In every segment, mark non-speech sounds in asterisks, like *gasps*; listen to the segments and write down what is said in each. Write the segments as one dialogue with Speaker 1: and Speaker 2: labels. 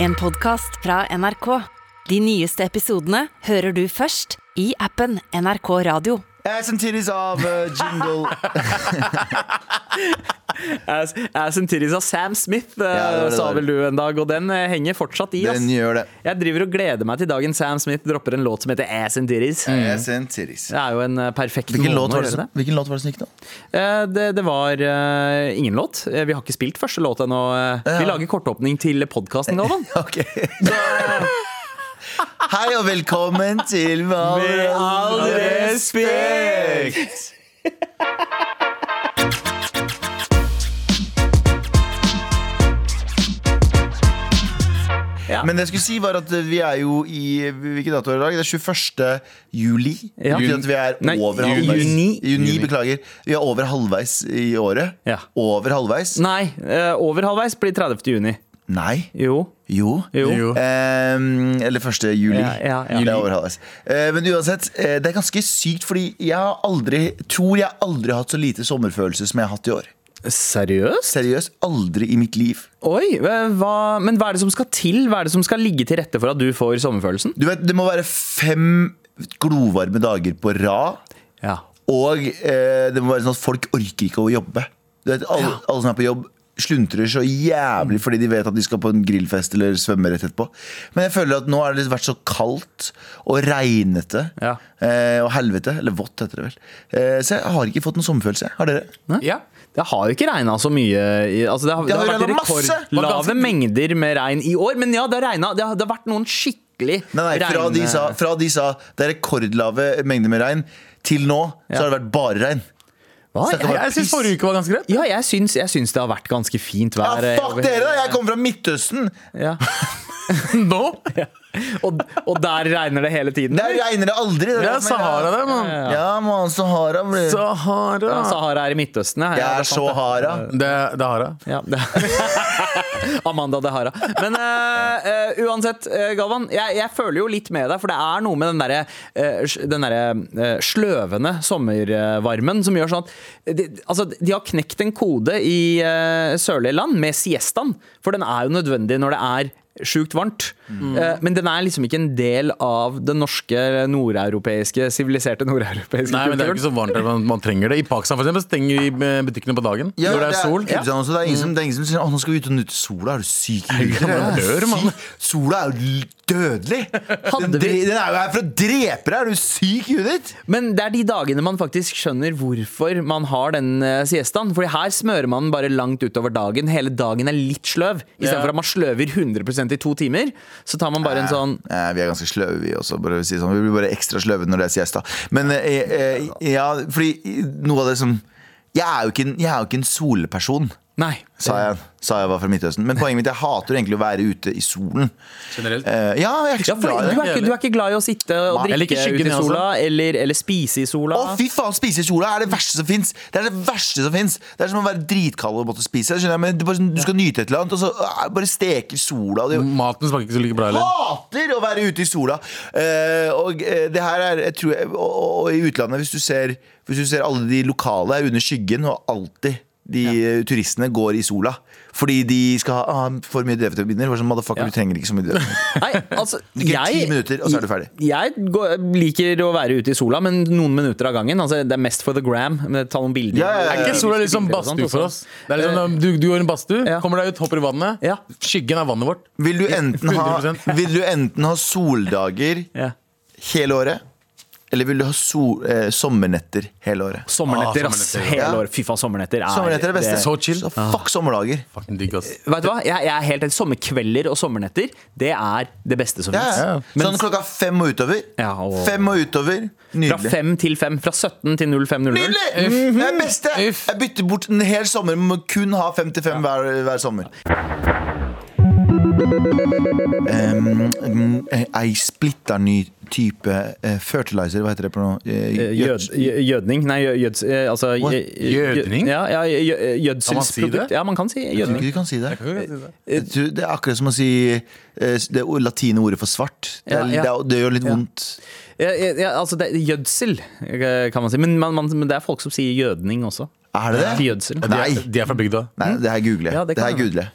Speaker 1: En podcast fra NRK. De nyeste episodene hører du først i appen NRK Radio.
Speaker 2: Ass and titties av eh, Jingle. *laughs*
Speaker 3: Ass ass and titties av Sam Smith, eh,
Speaker 2: Ja, det var det
Speaker 3: sa
Speaker 2: der.
Speaker 3: vel du en dag, og den eh, henger fortsatt i. Ass.
Speaker 2: Den gjør det.
Speaker 3: Jeg driver og gleder meg til dagen Sam Smith dropper en låt som heter Ass and Titties.
Speaker 2: Ass and titties.
Speaker 3: Det er jo en eh, perfekt
Speaker 2: Mm. Hvilken
Speaker 3: måned
Speaker 2: låt, var
Speaker 3: å
Speaker 2: det
Speaker 3: gjøre
Speaker 2: som, hvilken låt var det som gikk nå?
Speaker 3: Eh, Det, det var eh, ingen låt. Eh, Vi har ikke spilt første låt ennå. Eh, Vi
Speaker 2: Ja.
Speaker 3: lager kortåpning til podkasten,
Speaker 2: *laughs*
Speaker 3: Galvan.
Speaker 2: Ok Hei og velkommen til Med
Speaker 3: Med all respekt. *laughs* Ja.
Speaker 2: Men det jeg skulle si var at eh, vi er jo i Hvilken dato er det i dag? Det er 21. juli. Det
Speaker 3: Ja.
Speaker 2: betyr at vi er
Speaker 3: Nei,
Speaker 2: over
Speaker 3: juni.
Speaker 2: halvveis.
Speaker 3: Juni.
Speaker 2: Beklager. Vi er over halvveis i året.
Speaker 3: Ja.
Speaker 2: Over halvveis?
Speaker 3: Nei, eh, over halvveis blir 30. juni.
Speaker 2: Nei.
Speaker 3: Jo.
Speaker 2: Jo.
Speaker 3: Jo.
Speaker 4: Jo.
Speaker 2: Ehm, eller 1. juli.
Speaker 3: Ja, ja, ja.
Speaker 2: Det er over halvveis. Eh, men uansett, eh, det er ganske sykt, fordi jeg har aldri tror jeg aldri har hatt så lite sommerfølelse som jeg har hatt i år.
Speaker 3: Seriøst?
Speaker 2: Seriøst, aldri i mitt liv.
Speaker 3: Oi, eh, hva, men hva er det som skal til? Hva er det som skal ligge til rette for at du får sommerfølelsen?
Speaker 2: Du vet, Det må være fem glovarme dager på rad,
Speaker 3: Ja.
Speaker 2: og eh, det må være sånn at folk orker ikke å jobbe. Du vet, alle, alle som er på jobb, sluntrer så jævlig fordi de vet at de skal på en grillfest eller svømme rett etterpå. Men jeg føler at nå har det vært så kaldt og regnete.
Speaker 3: Ja.
Speaker 2: Eh, og helvete, eller vått heter det vel. Eh, så jeg har ikke fått noen sommerfølelse. Har dere?
Speaker 4: Ja.
Speaker 3: Det har jo ikke regna så mye i- altså det, har, det,
Speaker 2: har
Speaker 3: har vært
Speaker 2: regnet masse!
Speaker 3: rekordlave
Speaker 4: Det var ganske-
Speaker 3: mengder med regn i år, men ja, det har, regnet, det har, det har vært noen skikkelig
Speaker 2: Nei, nei, fra
Speaker 3: regne-
Speaker 2: de, sa, fra de sa det er rekordlave mengder med regn, til nå så
Speaker 3: Ja.
Speaker 2: har det vært bare regn.
Speaker 3: Hva?
Speaker 2: Snakk om
Speaker 3: Jeg,
Speaker 2: at-
Speaker 3: jeg,
Speaker 4: Jeg syns forrige uke var ganske greit.
Speaker 3: ja, jeg syns, jeg syns det har vært ganske fint
Speaker 2: Ja,
Speaker 3: vær. eh,
Speaker 2: fuck
Speaker 3: over-
Speaker 2: dere, da! Jeg kommer fra Midtøsten!
Speaker 3: *laughs* Ja.
Speaker 4: Nå?
Speaker 3: Og, og der regner det hele tiden?
Speaker 2: Der
Speaker 3: eller?
Speaker 2: regner det aldri! Det er
Speaker 4: Ja,
Speaker 2: derfor jeg-
Speaker 4: Sahara, det, mann.
Speaker 2: Ja, man, Sahara blir
Speaker 4: Sahara.
Speaker 3: Ja, Sahara er i Midtøsten. ja. Ja,
Speaker 2: Jeg
Speaker 3: det
Speaker 2: er
Speaker 3: sant,
Speaker 2: så
Speaker 3: det.
Speaker 2: hara.
Speaker 4: Det, det er Hara.
Speaker 3: Ja, det. *laughs* Amanda de Hara. Men eh, eh, uansett, eh, Galvan, jeg, jeg føler jo litt med deg. For det er noe med den derre eh, sj- den derre, eh, sløvende sommervarmen som gjør sånn at de, Altså, de har knekt en kode i eh, sørlige land med siestaen, for den er jo nødvendig når det er sjukt varmt.
Speaker 4: Mm.
Speaker 3: Eh, men den er liksom ikke en del av den norske nordeuropeiske, siviliserte nordeuropeiske
Speaker 4: Nei, men det er jo
Speaker 3: kulturen.
Speaker 4: ikke så varmt der man, man trenger det. I Pakistan for eksempel, så stenger de eh, butikkene på dagen
Speaker 2: Ja,
Speaker 4: når det er sol.
Speaker 2: Det er, Kristian også, det er ingen som, det er ingen som sier 'Å, nå skal vi ut og nyte sola'. Er du syk i huet?
Speaker 4: man
Speaker 2: Er du
Speaker 4: dør,
Speaker 2: syk?
Speaker 4: mann.
Speaker 2: Sola er jo dødelig! Den,
Speaker 3: Hadde vi-
Speaker 2: dre- den er jo her for å drepe deg! Er du syk i huet ditt?
Speaker 3: Men det er de dagene man faktisk skjønner hvorfor man har den eh, siestaen. Fordi her smører man bare langt utover dagen. Hele dagen er litt sløv.
Speaker 4: Ja.
Speaker 3: Istedenfor at man sløver 100 i to timer, så tar man bare en sånn
Speaker 2: Eh, vi er ganske sløve, vi også. Bare å si sånn. Vi blir bare ekstra sløve når det er siesta. Men eh, eh, ja, fordi noe av det som Jeg er jo ikke en, jeg er jo ikke en solperson,
Speaker 3: Nei.
Speaker 2: sa jeg, sa jeg var fra Midtøsten. Men poenget mitt jeg hater jo egentlig å være ute i solen.
Speaker 4: Generelt.
Speaker 2: Eh, ja, jeg er ikke
Speaker 3: Ja,
Speaker 2: så
Speaker 3: for
Speaker 2: glad i det.
Speaker 3: du, er ikke, du er ikke glad i å sitte og
Speaker 2: Nei, jeg
Speaker 3: drikke
Speaker 4: liker skyggen,
Speaker 3: ute i
Speaker 4: jeg
Speaker 3: sola, eller, eller spise i sola.
Speaker 2: altså. Å, fy faen, spise i sola er det verste som fins! Det er det verste som fins! Det er som å være dritkald og måtte spise. skjønner jeg, Men det er bare sånn, du skal nyte et eller annet, og så ah, bare steker sola. Og det
Speaker 4: Maten smaker ikke så like bra heller.
Speaker 2: hater å være ute i sola. Eh, og eh, det her er jeg tror jeg, og, og, og i utlandet, hvis du, ser, hvis du ser alle de lokale er under skyggen, og alltid de eh, turistene går i sola fordi de skal ha ah, for mye D-vitaminer. Sånn, motherfucker, du trenger ikke så mye D-vitaminer.
Speaker 3: *laughs* Nei, altså,
Speaker 2: Det er
Speaker 3: jeg,
Speaker 2: ti minutter, og så er du ferdig.
Speaker 3: jeg går, liker å være ute i sola, men noen minutter av gangen. Altså, det er mest for the gram. men Ta noen bilder.
Speaker 2: Ja, ja, ja.
Speaker 4: Er ikke sola litt sånn
Speaker 3: Bilder og sånt
Speaker 4: badstue for oss?
Speaker 3: også.
Speaker 4: Det er litt sånn, du, du går i en badstue,
Speaker 3: altså. Eh, Ja.
Speaker 4: kommer deg ut, hopper i vannet.
Speaker 3: Ja.
Speaker 4: Skyggen er vannet vårt.
Speaker 2: Vil du enten ha,
Speaker 4: 100%.
Speaker 2: vil du enten ha soldager
Speaker 3: Ja.
Speaker 2: hele året? Eller vil du ha sol, eh, sommernetter hele året?
Speaker 3: Sommernetter,
Speaker 4: Ah,
Speaker 3: ass.
Speaker 4: sommernetter, ja.
Speaker 3: Hele
Speaker 2: Ja.
Speaker 3: år. Fy faen, sommernetter er
Speaker 2: Sommernetter er det beste.
Speaker 4: Så chill.
Speaker 2: Så fuck sommerdager.
Speaker 4: Fucking digg, ass.
Speaker 3: Vet du hva? Jeg, jeg er helt enig. Sommerkvelder og sommernetter Det er det beste som
Speaker 2: Ja,
Speaker 3: fins.
Speaker 2: ja. Sånn klokka fem og utover.
Speaker 3: Ja, og-
Speaker 2: Fem og utover.
Speaker 3: Fra
Speaker 2: Nydelig.
Speaker 3: fem til fem. Fra 17 til 0500.
Speaker 2: Nydelig! Det er det beste!
Speaker 4: Uff.
Speaker 2: Jeg bytter bort en hel sommer med å kun ha fem til fem hver, hver sommer. Um, um, Ei splitter ny type eh, fertilizer, hva heter det på noe? Eh,
Speaker 3: Eh, Jød, jø- jødning? Nei, jø- jøds... eh, Altså
Speaker 2: What?
Speaker 3: jø- jø-
Speaker 4: Jødning?
Speaker 3: Ja, ja jø- jø-
Speaker 4: Kan man si
Speaker 3: gjødselsprodukt.
Speaker 4: det?
Speaker 3: Ja, man kan si
Speaker 2: Jeg tror
Speaker 3: jødning.
Speaker 2: ikke du kan si det.
Speaker 4: Hva
Speaker 2: Jeg tror Det er akkurat som å si eh, det latine ordet for svart. Det, er,
Speaker 3: Ja, ja.
Speaker 2: det, er, det gjør litt vondt.
Speaker 3: Ja, ja, ja, altså, det er gjødsel, eh, kan man si. Men, man, man, men det er folk som sier jødning også.
Speaker 2: Er det det?
Speaker 3: Til gjødsel.
Speaker 2: Nei,
Speaker 4: De er fra bygda.
Speaker 2: Nei det her googler jeg.
Speaker 3: Ja,
Speaker 2: det
Speaker 3: det kan
Speaker 2: her
Speaker 3: hende.
Speaker 2: googler jeg.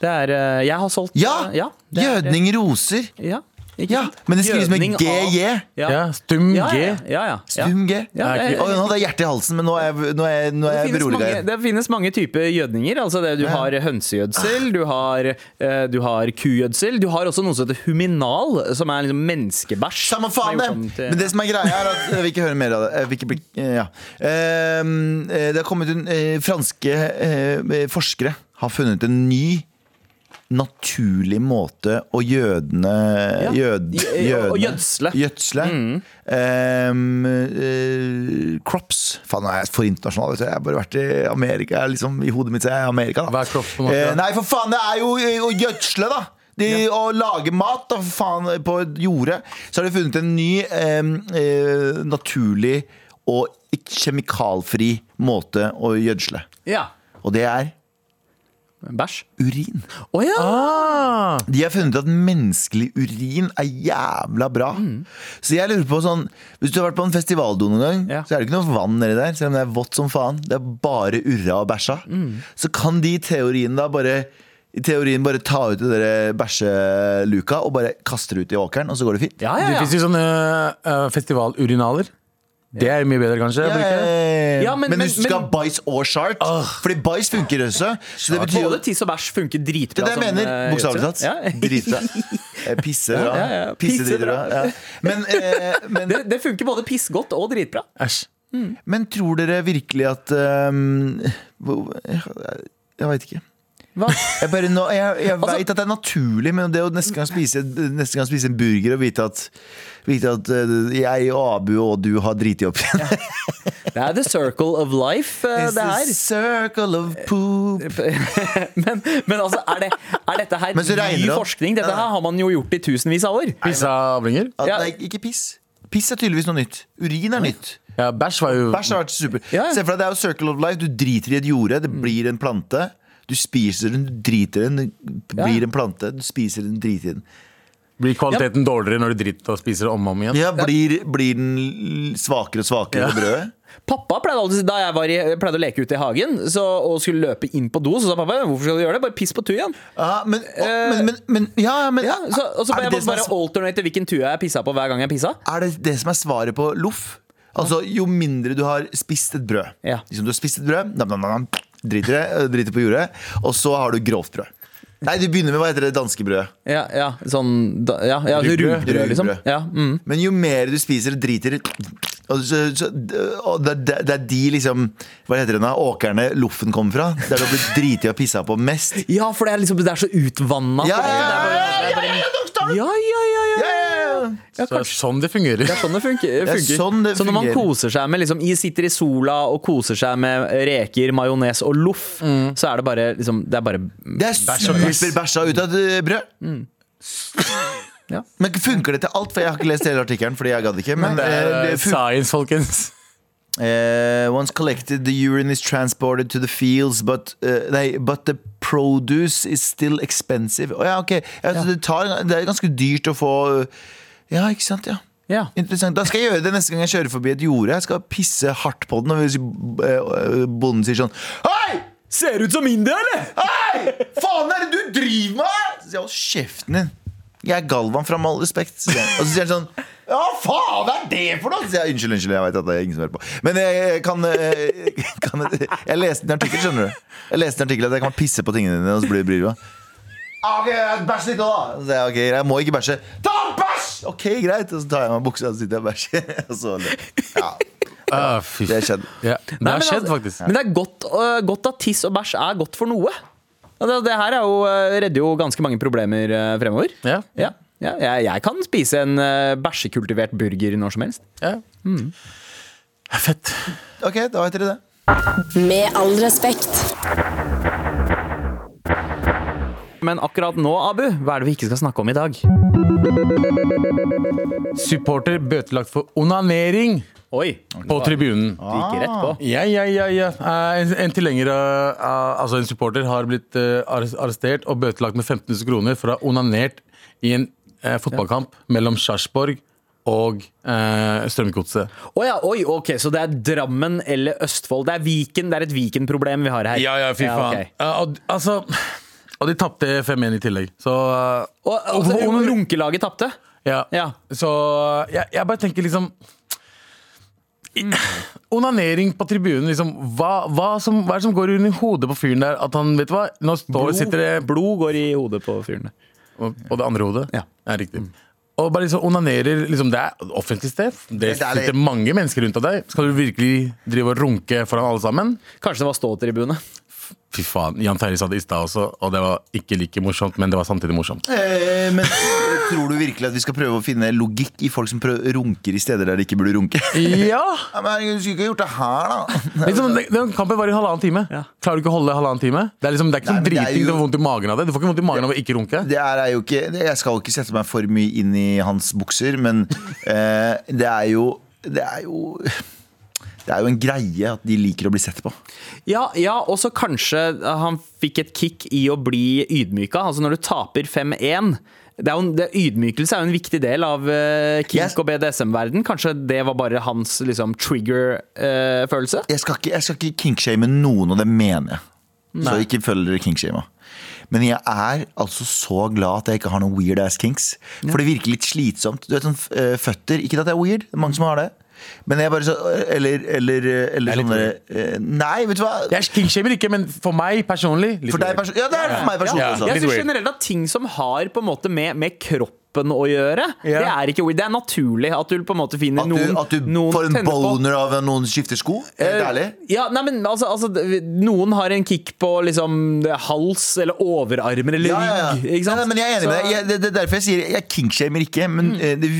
Speaker 3: Det er eh, Jeg har solgt
Speaker 2: Ja!
Speaker 3: eh, ja det er-
Speaker 2: Jødning roser.
Speaker 3: Ja, ikke
Speaker 2: Ja,
Speaker 3: sant?
Speaker 2: men det skrives
Speaker 3: Gjødning
Speaker 2: med
Speaker 3: av-
Speaker 2: GJ.
Speaker 3: Ja.
Speaker 4: Ja, stum
Speaker 3: Ja,
Speaker 4: G.
Speaker 3: ja, ja, ja.
Speaker 2: Stum G.
Speaker 3: Ja, ja, ja.
Speaker 2: Å, nå hadde jeg hjertet i halsen, men nå er jeg, nå er jeg, nå er
Speaker 3: Det
Speaker 2: jeg
Speaker 3: finnes,
Speaker 2: beroliga
Speaker 3: mange,
Speaker 2: igjen.
Speaker 3: det finnes mange typer gjødninger. Altså det, du har hønsegjødsel, du har, eh, du har kugjødsel. Du har også noe som heter huminal, som er liksom menneskebæsj.
Speaker 2: Samme
Speaker 3: Som
Speaker 2: faen
Speaker 3: er
Speaker 2: det!
Speaker 3: gjort om til-
Speaker 2: Men det som er greia, er at jeg vil ikke høre mer av det. Jeg vil ikke bli, ja. Ehm, eh, Det har kommet en eh, Franske eh, forskere har funnet en ny naturlig måte å jødene
Speaker 3: Ja.
Speaker 2: jød,
Speaker 3: Å- å
Speaker 2: jødene-
Speaker 3: gjødsle.
Speaker 2: gjødsle.
Speaker 4: Mm.
Speaker 2: Ehm, eh, crops. Faen, nå er jeg for internasjonal. vet du. Jeg har bare vært i Amerika. Jeg er Liksom, I hodet mitt så er jeg i Amerika. Da.
Speaker 4: Hva er crops på en måte,
Speaker 2: Eh,
Speaker 4: da?
Speaker 2: nei, for faen, det er jo eh, å gjødsle, da. De, Å lage mat da, for faen, på et jorde. Så har de funnet en ny eh, eh, naturlig og ikke kjemikalfri måte å gjødsle.
Speaker 3: Ja.
Speaker 2: Og det er
Speaker 3: Bæsj.
Speaker 2: urin.
Speaker 3: Å ja!
Speaker 4: Ah,
Speaker 2: De har funnet ut at menneskelig urin er jævla bra.
Speaker 3: Mm.
Speaker 2: Så jeg lurer på sånn Hvis du har vært på en festivaldo noen gang,
Speaker 3: Ja.
Speaker 2: så er det ikke noe vann nedi der, selv om det er vått som faen. Det er bare urra og bæsja.
Speaker 3: Mm.
Speaker 2: Så kan de i teorien da bare i teorien bare ta ut det der bæsjeluka og bare kaste det ut i åkeren, og så går det fint.
Speaker 3: ja,
Speaker 4: Det
Speaker 3: ja,
Speaker 4: finnes
Speaker 3: ja.
Speaker 4: jo sånne øh, festivalurinaler. Det er mye bedre, kanskje. burde ikke det?
Speaker 3: Ja, men-
Speaker 2: men,
Speaker 3: men-
Speaker 2: hvis du skal
Speaker 3: men-
Speaker 2: ha bæsj og shart Fordi bæsj funker også. Så det betyr jo
Speaker 3: Både tiss og bæsj funker
Speaker 2: Det
Speaker 3: dritbra.
Speaker 2: er det jeg
Speaker 3: som,
Speaker 2: mener,
Speaker 3: eh,
Speaker 2: bokstavelig talt.
Speaker 3: gjødsel. Ja.
Speaker 2: Drita. Eh, Pisse bra.
Speaker 3: Ja, ja, ja.
Speaker 2: Pisse
Speaker 3: Pisse
Speaker 2: dritbra. Ja. Men, eh, men
Speaker 3: *laughs* *laughs* Det, det funker både pissgodt og dritbra.
Speaker 4: Æsj.
Speaker 2: Men tror dere virkelig at ehm, hvor- Jeg, jeg veit ikke. *laughs*
Speaker 3: Hva?
Speaker 2: Jeg, bare nå- jeg, jeg
Speaker 3: Altså-
Speaker 2: vet at det er naturlig, men det å neste gang spise, neste gang spise en burger og vite at, vite at eh, jeg og Abu og du har driti opp igjen
Speaker 3: Det er the circle of life, eh,
Speaker 2: It's the
Speaker 3: det her.
Speaker 2: circle of poop.
Speaker 3: Men, men altså, er, det, er dette her
Speaker 2: Men så regner
Speaker 3: ny
Speaker 2: det opp.
Speaker 3: forskning? Dette her har man jo gjort i tusenvis av år.
Speaker 4: Pissa avlinger?
Speaker 2: At,
Speaker 3: Ja.
Speaker 2: Nei, ikke piss. Piss er tydeligvis noe nytt. Urin er nytt.
Speaker 4: Ja, bæsj var jo
Speaker 2: Bæsj har vært super.
Speaker 3: Ja.
Speaker 2: Se for deg, det er jo circle of life. Du driter i et jorde, det blir en plante. Du spiser den, du driter i den, det blir en plante. Du spiser den, driter i den.
Speaker 4: Blir kvaliteten dårligere når du driter og spiser det om og om igjen?
Speaker 2: Ja, blir, blir den svakere og svakere på *laughs* brødet?
Speaker 3: Pappa pleide alltid, å si- Da jeg var i, pleide å leke ute i hagen så, og skulle løpe inn på do, så sa pappa hvorfor skal du gjøre det? Bare piss på tujaen.
Speaker 2: Ja, men, å, men, men, men, Eh, ja, men
Speaker 3: Ja, så, og så
Speaker 2: er,
Speaker 3: jeg
Speaker 2: det det
Speaker 3: måtte
Speaker 2: som
Speaker 3: bare
Speaker 2: er,
Speaker 3: alternate hvilken tuja jeg pissa på hver gang jeg pissa.
Speaker 2: er det det som er svaret på loff? Altså, jo mindre du har spist et brød
Speaker 3: Ja.
Speaker 2: Liksom du har spist et brød, nam, nam, nam, driter det, øh, driter på jordet, og så har du grovt brød. Nei, du begynner med hva heter det danske brødet.
Speaker 3: Ja, ja, sånn da, ja, ja,
Speaker 4: Rugbrød.
Speaker 3: Rugbrød, liksom.
Speaker 2: Rugbrød.
Speaker 3: Ja, mm.
Speaker 2: Men jo mer du spiser og driter i- og så, så, og det, det, det er de liksom Hva heter det nå? Åkrene loffen kommer fra? Der du har blitt driti og pissa på mest?
Speaker 3: ja for det er, liksom, det er så utvanna.
Speaker 2: Ja,
Speaker 3: Det er bare-
Speaker 2: ja, ja, ja,
Speaker 3: ja, ja, ja, ja.
Speaker 2: ja, ja, ja.
Speaker 3: ja
Speaker 4: Så det er sånn det fungerer.
Speaker 3: Det er sånn det funker.
Speaker 2: er
Speaker 3: funker.
Speaker 2: sånn det
Speaker 3: så når man
Speaker 2: fungerer.
Speaker 3: koser seg med liksom, i- Sitter i sola og koser seg med reker, majones og loff,
Speaker 2: Mm.
Speaker 3: så er det bare, liksom, det er bare
Speaker 2: Det er
Speaker 4: og piss.
Speaker 2: super bæsja ut av et brød.
Speaker 3: Ja.
Speaker 2: Men funker det til alt? For jeg har ikke lest hele artikkelen. Fordi jeg gadd ikke Men
Speaker 4: Det er
Speaker 2: eh,
Speaker 4: eh,
Speaker 2: det fun-
Speaker 4: science, folkens.
Speaker 2: Eh, Once collected, the urine is transported to the fields, but, eh, nei, but the produce is still expensive. Å ja, ok. Ja, så Det, tar, det er ganske dyrt å få Ja, ikke sant? ja
Speaker 3: ja.
Speaker 2: Interessant. Da skal jeg gjøre det neste gang jeg kjører forbi et jorde. Jeg skal pisse hardt på den. Og hvis eh, bonden sier sånn Hei!
Speaker 3: Ser ut som India, eller?
Speaker 2: Hei! Faen er det du driver med?! Så sier jeg, Hold kjeften din. Jeg er Galvan fra Med all respekt. sier jeg. Og så sier han sånn Ja, faen er det for noe?! Så sier jeg unnskyld, unnskyld, jeg vet at det er ingen som hører på. Men jeg, jeg kan, eh, *laughs* kan Jeg leste en artikkel, skjønner du. Jeg leste en artikkel at jeg kan pisse på tingene dine, og så blir du bryr deg. Ok, bæsj litt òg, da. Så sier jeg, ok, jeg må ikke bæsje. Ta bæsj! Ok, greit. Og så tar jeg meg buksa og så sitter jeg og bæsjer. *laughs* Og så Ja,
Speaker 4: Ah, fy
Speaker 2: det
Speaker 4: f-
Speaker 2: skjedde.
Speaker 4: ja. Det
Speaker 3: Nei, men
Speaker 4: har skjedd,
Speaker 3: altså-
Speaker 4: faktisk.
Speaker 3: Men det er godt, øh, godt at tiss og bæsj er godt for noe. Altså, det her er jo, øh, redder jo ganske mange problemer øh, fremover.
Speaker 4: Ja.
Speaker 3: Ja. Ja, jeg, jeg kan spise en øh, bæsjekultivert burger når som helst.
Speaker 4: Ja. Fett.
Speaker 2: Ok, da vet dere det.
Speaker 5: Med all respekt.
Speaker 3: Men akkurat nå, Abu, hva er det vi ikke skal snakke om i dag?
Speaker 4: Supporter bøtelagt for onanering
Speaker 3: Oi,
Speaker 4: på tribunen.
Speaker 3: det gikk rett på.
Speaker 4: Ja, ja, ja, ja. Eh, En, en tilhenger av- av- altså en supporter har blitt eh, arres- arrestert og bøtelagt med 15 000 kroner for å ha onanert i en eh, fotballkamp mellom Sarpsborg og eh, Strømgodset.
Speaker 3: Å ja, oi, ok, Så det er Drammen eller Østfold. Det er Viken, det er et Viken-problem vi har her.
Speaker 4: Ja, ja, fy faen.
Speaker 3: ok.
Speaker 4: Eh, og, altså, Og de tapte 5-1 i tillegg. Så,
Speaker 3: Og, altså,
Speaker 4: Hvorfor- hvorfor-
Speaker 3: runkelaget tapte.
Speaker 4: ja.
Speaker 3: Ja.
Speaker 4: så jeg, jeg bare tenker liksom Onanering på tribunen, liksom. Hva, hva, som, hva er det som går under hodet på fyren der? At han, vet du hva, nå står, sitter det
Speaker 3: blod går i hodet på fyren.
Speaker 4: Og og det andre hodet?
Speaker 3: Ja.
Speaker 4: riktig. Og bare liksom onanerer liksom, Det er offentlig sted. Det
Speaker 2: er litt-
Speaker 4: sitter mange mennesker rundt av deg. Skal du virkelig drive og runke foran alle sammen?
Speaker 3: Kanskje det var ståtribune.
Speaker 4: Fy faen. Jan Terje sa det i stad også, og det var ikke like morsomt, men det var samtidig morsomt.
Speaker 2: Eh, men tror du virkelig at vi skal prøve å finne logikk i folk som prøv- runker i steder der de ikke burde runke?
Speaker 4: *laughs* Ja!
Speaker 2: Ja, men herregud, Du skulle ikke gjort det her, da.
Speaker 4: Liksom, den- den kampen var i halvannen time.
Speaker 3: Ja.
Speaker 4: Klarer du ikke å holde halvannen time? Det er, liksom, det er ikke
Speaker 2: Nei,
Speaker 4: sånn
Speaker 2: men det er
Speaker 4: driting
Speaker 2: jo-
Speaker 4: du får vondt i magen av det. Du får ikke vondt i magen av å ikke runke.
Speaker 2: Det er er jo ikke, det- jeg skal ikke sette meg for mye inn i hans bukser, men eh, det er jo Det er jo det er jo en greie at de liker å bli sett på.
Speaker 3: Ja, ja og så kanskje eh, han fikk et kick i å bli ydmyka. Altså når du taper 5-1 det er jo en, det, Ydmykelse er jo en viktig del av uh, kink
Speaker 2: Yes.
Speaker 3: og BDSM-verden. Kanskje det var bare hans liksom, eh, trigger-følelse?
Speaker 2: Jeg skal ikke, jeg skal ikke kinkshame noen, og det mener jeg. Så ikke følg dere kinkshama. Men jeg er altså så glad at jeg ikke har noen weird ass kinks. For det virker litt slitsomt. Du vet sånn eh, føtter Ikke at det er weird, det er mange som har det. Men jeg bare så Eller, eh, eller, eller sånne eh, Nei, vet du hva?
Speaker 4: Jeg kingshamer ikke, men for meg personlig litt
Speaker 2: For deg
Speaker 4: weird.
Speaker 2: perso- Ja, det er det for meg personlig
Speaker 4: Ja.
Speaker 2: også.
Speaker 4: Ja.
Speaker 3: Jeg
Speaker 4: Litt
Speaker 3: synes
Speaker 4: weird.
Speaker 3: generelt at ting som har på en måte med, med kroppen å gjøre,
Speaker 4: Ja.
Speaker 3: det er ikke weird. Det er naturlig at du på en måte finner
Speaker 2: At du,
Speaker 3: noen
Speaker 2: at du
Speaker 3: noen
Speaker 2: får en
Speaker 3: tenner på- Eh,
Speaker 2: boner av at noen skifter sko. Helt ærlig.
Speaker 3: Ja, nei, men altså, altså d- Noen har en kick på liksom hals eller overarmer eller
Speaker 2: Ja,
Speaker 3: rygg.
Speaker 2: ja, ja.
Speaker 3: Ikke
Speaker 2: Nei,
Speaker 3: sant?
Speaker 2: nei, men jeg er enig
Speaker 3: Så- Mm.
Speaker 2: med deg. Jeg, det, det er derfor jeg sier jeg kinkshamer ikke, men eh, det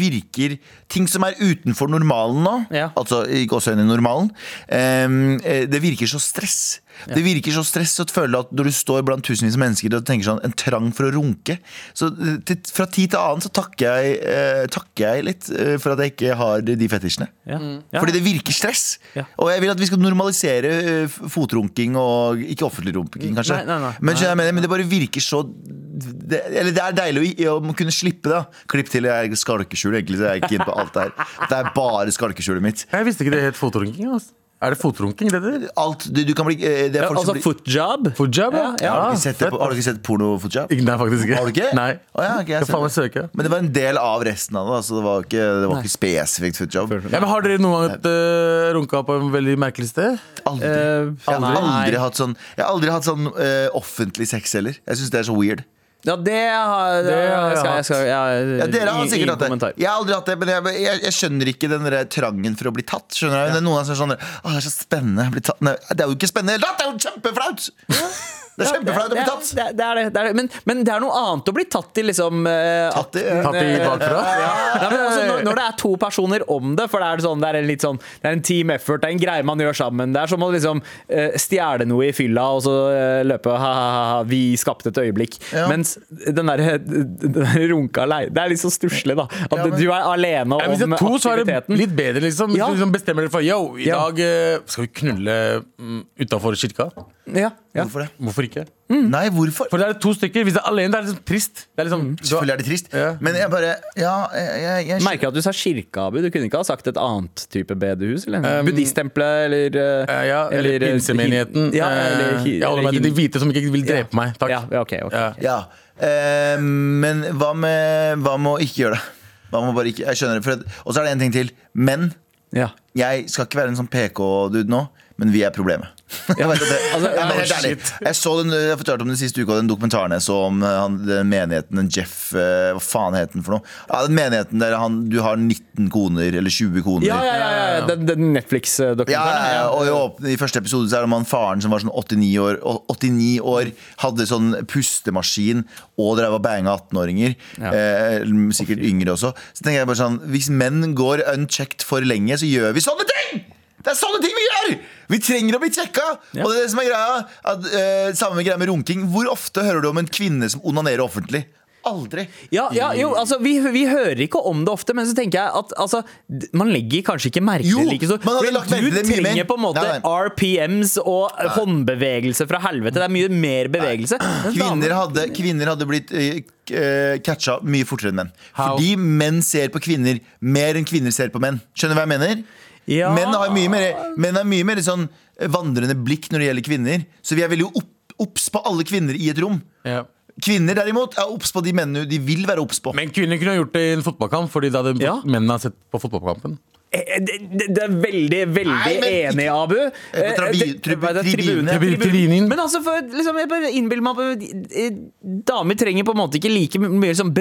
Speaker 2: virker Ting som er utenfor normalen nå,
Speaker 3: Ja.
Speaker 2: altså ikke også i normalen, ehm, eh, det virker så stress. Det virker så stress å føle at når du står blant tusenvis av mennesker og tenker sånn en trang for å runke Så eh, til, fra tid til annen så takker jeg, eh, takker jeg litt eh, for at jeg ikke har de- de fetisjene.
Speaker 3: Ja. Ja.
Speaker 2: Fordi det virker stress.
Speaker 3: Ja.
Speaker 2: Og jeg vil at vi skal normalisere eh, f- fotrunking og Ikke offentlig runking, kanskje.
Speaker 3: Nei, nei, nei.
Speaker 2: Men, skjønner jeg hva jeg mener, men det bare virker så det, Eller det er deilig å, i- å kunne slippe det. da. Klipp til jeg er skalkeskjul, egentlig. Så jeg er ikke inne på alt det her. Det er bare skalkeskjulet mitt.
Speaker 4: Jeg visste ikke det het fotrunking. Altså. Er det fotrunking det heter?
Speaker 2: Alt, du, du kan bli eh, Det er
Speaker 3: Ja,
Speaker 2: folk
Speaker 3: altså
Speaker 2: som blir
Speaker 3: footjob.
Speaker 4: Footjab, ja.
Speaker 3: Ja,
Speaker 2: har, du
Speaker 4: ja.
Speaker 2: ikke sett det, på- har du ikke sett porno footjob?
Speaker 4: Ikke- Nei, faktisk ikke.
Speaker 2: Har du ikke?
Speaker 4: Nei.
Speaker 2: Å ja, ok, jeg
Speaker 4: Skal
Speaker 2: ser
Speaker 4: faen meg
Speaker 2: det.
Speaker 4: søke.
Speaker 2: Men det var en del av resten av det. da, Så det var ikke, det var ikke spesifikt footjob.
Speaker 4: Ja, men har dere noen gang eh, runka på en veldig merkelig sted?
Speaker 2: Aldri.
Speaker 3: Eh,
Speaker 2: Jeg har aldri
Speaker 3: nei.
Speaker 2: hatt sånn, jeg har aldri hatt sånn eh, offentlig sex heller. Jeg syns det er så weird.
Speaker 3: Ja, det har
Speaker 4: Det har jeg
Speaker 3: skal, jeg skal, jeg,
Speaker 2: Ja, dere har
Speaker 3: ingen-
Speaker 2: sikkert
Speaker 3: ingen
Speaker 2: hatt det.
Speaker 3: kommentar.
Speaker 2: Jeg har aldri hatt det, men jeg, jeg, jeg skjønner ikke den der trangen for å bli tatt. Skjønner jeg? Det er noen som er sånn Å, det er så spennende å bli tatt. Nei, det er jo ikke spennende i det hele tatt! Det er jo kjempeflaut! *laughs* Det er kjempeflaut å bli tatt.
Speaker 3: Det, er- det er det, det er det. Men, men det er noe annet å bli tatt i, liksom. eh,
Speaker 2: Tatt i,
Speaker 3: akten,
Speaker 4: Tatt i
Speaker 3: eh,
Speaker 4: bakfra?
Speaker 3: Ja. Nei, men altså, når, når det er to personer om det, for det er, sånn, det er en litt sånn Det er en team effort, det er en greie man gjør sammen. Det er som å liksom eh, stjele noe i fylla og så eh, løpe ha-ha-ha, vi skapte et øyeblikk.
Speaker 2: Ja.
Speaker 3: Mens den der, *laughs* den der runka alei- Det er litt så stusslig, da. At du er alene
Speaker 4: Ja, hvis det
Speaker 3: om
Speaker 4: er to, så er det
Speaker 3: aktiviteten.
Speaker 4: litt bedre, liksom. Hvis
Speaker 3: Ja.
Speaker 4: du liksom bestemmer dere for Yo, i
Speaker 3: Ja.
Speaker 4: dag eh, skal vi knulle mm, utafor kirka.
Speaker 3: Ja, ja.
Speaker 2: Hvorfor det?
Speaker 4: Hvorfor ikke?
Speaker 3: Mm.
Speaker 2: Nei, hvorfor?
Speaker 4: For det er to stykker. Hvis det er alene, det er liksom trist. Det er liksom,
Speaker 3: Mm.
Speaker 2: Selvfølgelig er det trist,
Speaker 4: Ja.
Speaker 2: men jeg bare Ja, jeg, jeg, jeg skjønner-
Speaker 3: Merker at du sa kirke, Abu. Du kunne ikke ha sagt et annet type bedehus? Eller? Buddhisttempelet, eller
Speaker 4: Eh, ja, eller
Speaker 3: eh,
Speaker 4: pinsemenigheten.
Speaker 3: Ja,
Speaker 4: Eh,
Speaker 3: eller, hi-
Speaker 4: jeg holder meg til de
Speaker 3: eller hin-
Speaker 4: hvite som ikke vil drepe
Speaker 3: Ja.
Speaker 4: meg. Takk.
Speaker 3: Ja, ja, ok, ok.
Speaker 4: Ja.
Speaker 2: Ja. Eh, men hva med, hva med å ikke gjøre det? Hva med å bare ikke Jeg skjønner det. for at- Og så er det en ting til. Men
Speaker 3: Ja.
Speaker 2: jeg skal ikke være en sånn PK-dude nå, men vi er
Speaker 3: *laughs*
Speaker 2: problemet. Jeg, vet at det,
Speaker 3: altså,
Speaker 2: jeg, men helt
Speaker 3: ja,
Speaker 2: ærlig, jeg så den, jeg fortalte om den siste uka, den dokumentaren jeg så om eh, han, den menigheten, den Jeff eh, Hva faen het den for noe? Ja, den menigheten der han, du har 19 koner, eller 20 koner.
Speaker 3: Ja, ja, ja, ja. Den, den Netflix-dokumentaren.
Speaker 2: Ja, ja, ja. Og i, åpne, I første episode så er det om han faren som var sånn 89 år, og 89 år hadde sånn pustemaskin og drev og banga 18-åringer.
Speaker 3: Ja.
Speaker 2: Eh, sikkert yngre også. Så tenker jeg bare sånn Hvis menn går unchecked for lenge, så gjør vi sånne ting! Det er sånne ting vi gjør! Vi trenger å bli sjekka!
Speaker 3: Ja.
Speaker 2: Og det er det som er greia. At, eh, samme greia med runking. Hvor ofte hører du om en kvinne som onanerer offentlig? Aldri.
Speaker 3: Ja, ja, jo, altså, vi, vi hører ikke om det ofte, men så tenker jeg at altså, d- man legger kanskje ikke merke
Speaker 2: Jo,
Speaker 3: til det like stort.
Speaker 2: man hadde
Speaker 3: Men
Speaker 2: lagt merke til det
Speaker 3: Du
Speaker 2: mye mer.
Speaker 3: trenger på en måte
Speaker 2: Nei, nei.
Speaker 3: RPMs og håndbevegelse fra helvete. Det er mye mer bevegelse. Mens
Speaker 2: Kvinner
Speaker 3: damer-
Speaker 2: hadde, kvinner hadde blitt eh, k- eh, catcha mye fortere enn menn.
Speaker 4: How?
Speaker 2: Fordi menn ser på kvinner mer enn kvinner ser på menn. Skjønner du hva jeg mener?
Speaker 3: Ja.
Speaker 2: Menn har mye mer, menn har mye mer sånn vandrende blikk når det gjelder kvinner. Så vi er veldig opp, obs på alle kvinner i et rom.
Speaker 4: Ja.
Speaker 2: Kvinner derimot er obs på de mennene de vil være obs på.
Speaker 4: Men kvinner kunne ha gjort det i en fotballkamp, fordi da hadde
Speaker 3: Ja.
Speaker 4: mennene sett på fotballkampen.
Speaker 3: Eh, Det, det det er veldig, veldig
Speaker 2: Nei, men
Speaker 3: enig,
Speaker 2: ikke-
Speaker 3: Abu. Eh,
Speaker 2: trabi-
Speaker 3: det-
Speaker 2: tribu-
Speaker 3: hva er det?
Speaker 2: tribune.
Speaker 3: Tribune.
Speaker 4: Tribu-
Speaker 3: Tribune.
Speaker 4: tribinen.
Speaker 3: Men altså, for, liksom, jeg bare innbiller meg at eh, damer trenger på en måte ikke like mye sånn